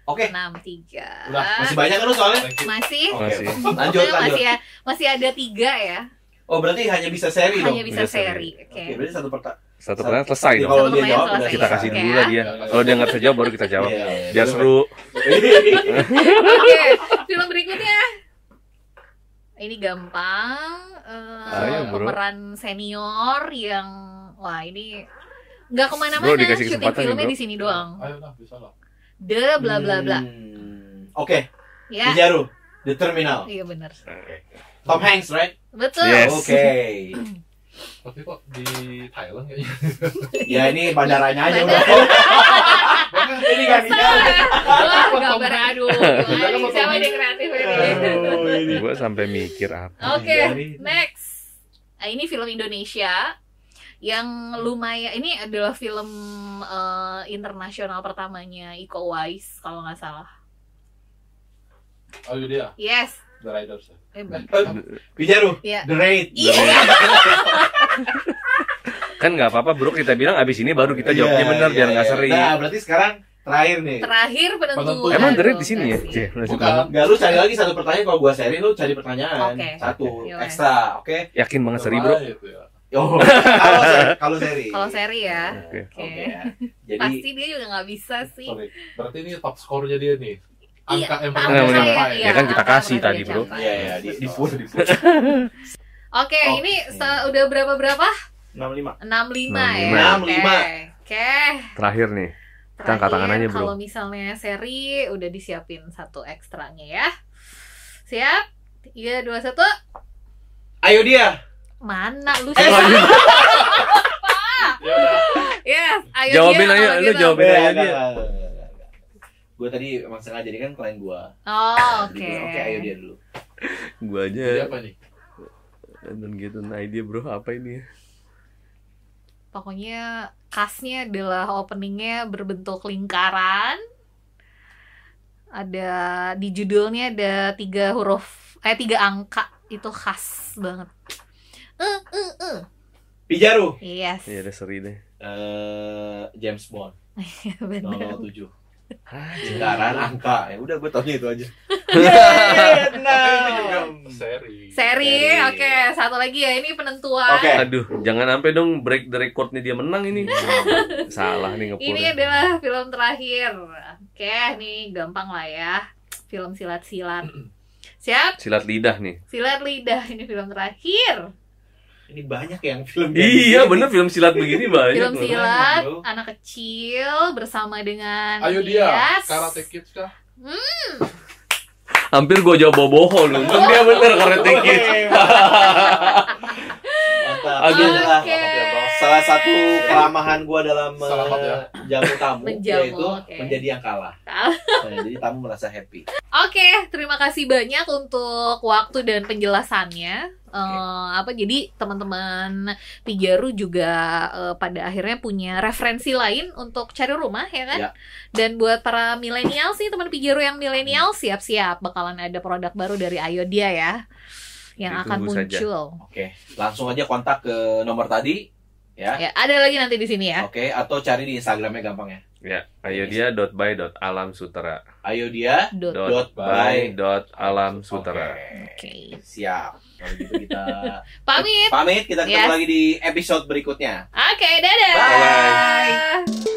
A: Oke,
B: 63.
D: Udah,
A: masih banyak kan lu soalnya?
D: Thank you.
B: Masih.
A: Oke,
C: Oh, Masih.
A: lanjut
B: Maksudnya
A: lanjut.
B: masih ya, masih ada tiga ya.
A: Oh, berarti hanya bisa seri dong. Iya,
B: Hanya bisa
C: Bisa seri.
B: seri. Oke.
A: Oke, berarti satu pertanyaan.
C: satu pertanyaan selesai
A: Tapi
C: dong
A: Kalau
B: Satu
A: dia
B: pertanyaan
A: jawab
B: selesai.
A: udah
C: kita kasih
B: Oke,
C: dulu
B: ya.
C: lah dia kalau dia nggak bisa jawab baru kita jawab biar seru
A: Iya.
B: Oke, film berikutnya. Ini gampang. Eh,
C: Ayo, bro.
B: pemeran senior yang wah ini nggak
C: Bro,
B: kemana-mana
C: dikasih
B: syuting
C: kesempatan nih,
B: filmnya
C: bro.
B: di sini doang.
D: Ayo lah, bisa lah.
B: The bla bla bla.
A: Hmm, Oke,
B: Ya.
A: Pijaru, The Terminal.
B: Iya benar.
A: Tom Hanks, right?
B: Betul.
C: Yes.
A: Oke.
D: Tapi kok di Thailand kayaknya?
A: Ya ini bandaranya aja udah.
B: Bandara.
A: ini kan kita.
B: Wah, gambar aduh.
D: Jangan
B: Aduh,
D: potong.
B: Siapa yang kreatif ini?
A: Aduh, Oh, ini.
C: gue sampai mikir apa
B: Oke,
A: Dari-
B: next. Nah, ini film Indonesia yang lumayan ini adalah film eh, internasional pertamanya Iko Uwais kalau nggak salah.
D: Ayo dia,
B: Yes.
D: The Riders.
B: Eh, bener.
A: Pijaru,
B: Iya.
A: The Raid.
B: Iya.
C: kan nggak apa-apa bro kita bilang abis ini baru kita jawabnya
A: Iya,
C: benar
A: iya,
C: biar nggak
A: iya.
C: seri
A: Nah, berarti sekarang terakhir nih.
B: Terakhir penentu.
D: Penentu.
C: emang
B: Aduh,
C: dari di sini ya
B: kasih.
C: Cie, masih
D: Bukan.
C: belum.
A: Enggak, lu cari lagi satu pertanyaan kalau gua seri lu cari pertanyaan
B: Oke.
A: satu
B: Yowes.
A: ekstra, oke?
C: yakin banget seri bro
D: Kemarin itu ya.
C: Oh.
A: Yo, kalau seri, kalau seri.
B: Kalau seri ya.
C: oke
B: Oke.
A: Oke. ya. Jadi
B: Pasti dia juga nggak bisa sih.
D: Sorry. Berarti ini top skornya dia nih.
B: Iya,
D: Angka yang
B: angka
D: paling
C: saya,
D: banyak.
C: iya. Ya kan kita
B: angka
C: kasih
B: yang
C: tadi,
B: dia
C: bro.
B: capai.
A: Iya, iya, di di full, di full.
B: Oke,
A: Oh.
B: ini se- udah berapa berapa?
A: 65.
B: 65
A: 65.
B: ya. Oke. Oke.
C: terakhir nih Kita angkat tangan
B: Terakhir,
C: aja, bro.
B: Kalau misalnya seri udah disiapin satu ekstranya ya. Siap? Tiga, dua, satu.
A: Ayo dia.
B: Mana lu sih?
A: Eh,
D: Ya udah.
B: Yes, ayo gitu.
C: Jawabin aja, lu jawabin. Oh,
A: Iya,
C: Beda ya, aja.
A: Gue tadi emang sengaja ini kan klien gue.
B: Oh,
A: Jadi
B: oke.
A: gua, Oke, ayo dia dulu.
C: Gue
D: Jadi
C: aja
D: apa nih?
C: dan gitu idea bro apa ini?
B: Pokoknya khasnya adalah openingnya berbentuk lingkaran. Ada di judulnya ada tiga huruf, eh tiga angka itu khas banget. Eh, eh, eh.
A: Pijaru.
B: Yes.
C: Ya udah seri deh.
A: Eh, James Bond.
C: Oh.
B: Benar.
A: 007.
C: Ah,
A: Sekarang angka. Ya udah gue taunya itu aja. Iya,
D: Ini juga
A: Vietnam.
D: seri.
B: Seri,
A: Seri.
B: oke. Satu lagi ya, ini penentuan.
A: Oke.
C: Eh. Aduh, jangan sampai dong break the recordnya dia menang ini. Iya. Salah nih ngepur.
B: Ini ya, adalah film terakhir. Oke, nih gampang lah ya. Film silat-silat. Siap?
C: Silat lidah nih.
B: Silat lidah ini film terakhir.
A: Ini banyak yang film.
C: Iya bener film silat begini banyak.
B: Film
C: loh.
B: silat
A: Bro.
B: anak kecil bersama dengan
D: Ayo dia,
B: Yes.
D: Karate Kids kah?
C: Hampir gue jawab boboho lu. Untung dia bener karate kid.
A: Mantap.
C: Aduh.
A: Ini adalah
B: Oke.
A: Salah satu kelemahan gua dalam
D: Selamat ya.
A: menjamu tamu
B: Menjamu,
A: yaitu
B: oke.
A: menjadi yang kalah.
B: Kalah.
A: Nah, jadi tamu merasa happy.
B: Oke, terima kasih banyak untuk waktu dan penjelasannya. Eh, apa jadi teman-teman Pijaru juga eh, pada akhirnya punya referensi lain untuk cari rumah ya kan?
A: Ya.
B: Dan buat para milenial sih teman Pijaru yang milenial siap-siap bakalan ada produk baru dari Ayodia ya yang akan
C: Ditunggu saja.
B: muncul.
A: Oke, langsung aja kontak ke nomor tadi ya.
B: Ya, ada lagi nanti di sini ya.
A: Oke, atau cari di Instagramnya gampang ya.
C: Ya, ayo dia dot by dot alam sutera.
A: Ayo dia
B: Dot.
C: Dot
A: dot
C: by
A: by
C: dot alam sutera.
A: Oke,
B: Oke.
A: Siap. Kalau gitu kita
B: Pamit.
A: pamit, kita ketemu
B: Yes.
A: lagi di episode berikutnya.
B: Oke, dadah.
A: Bye.
B: Bye.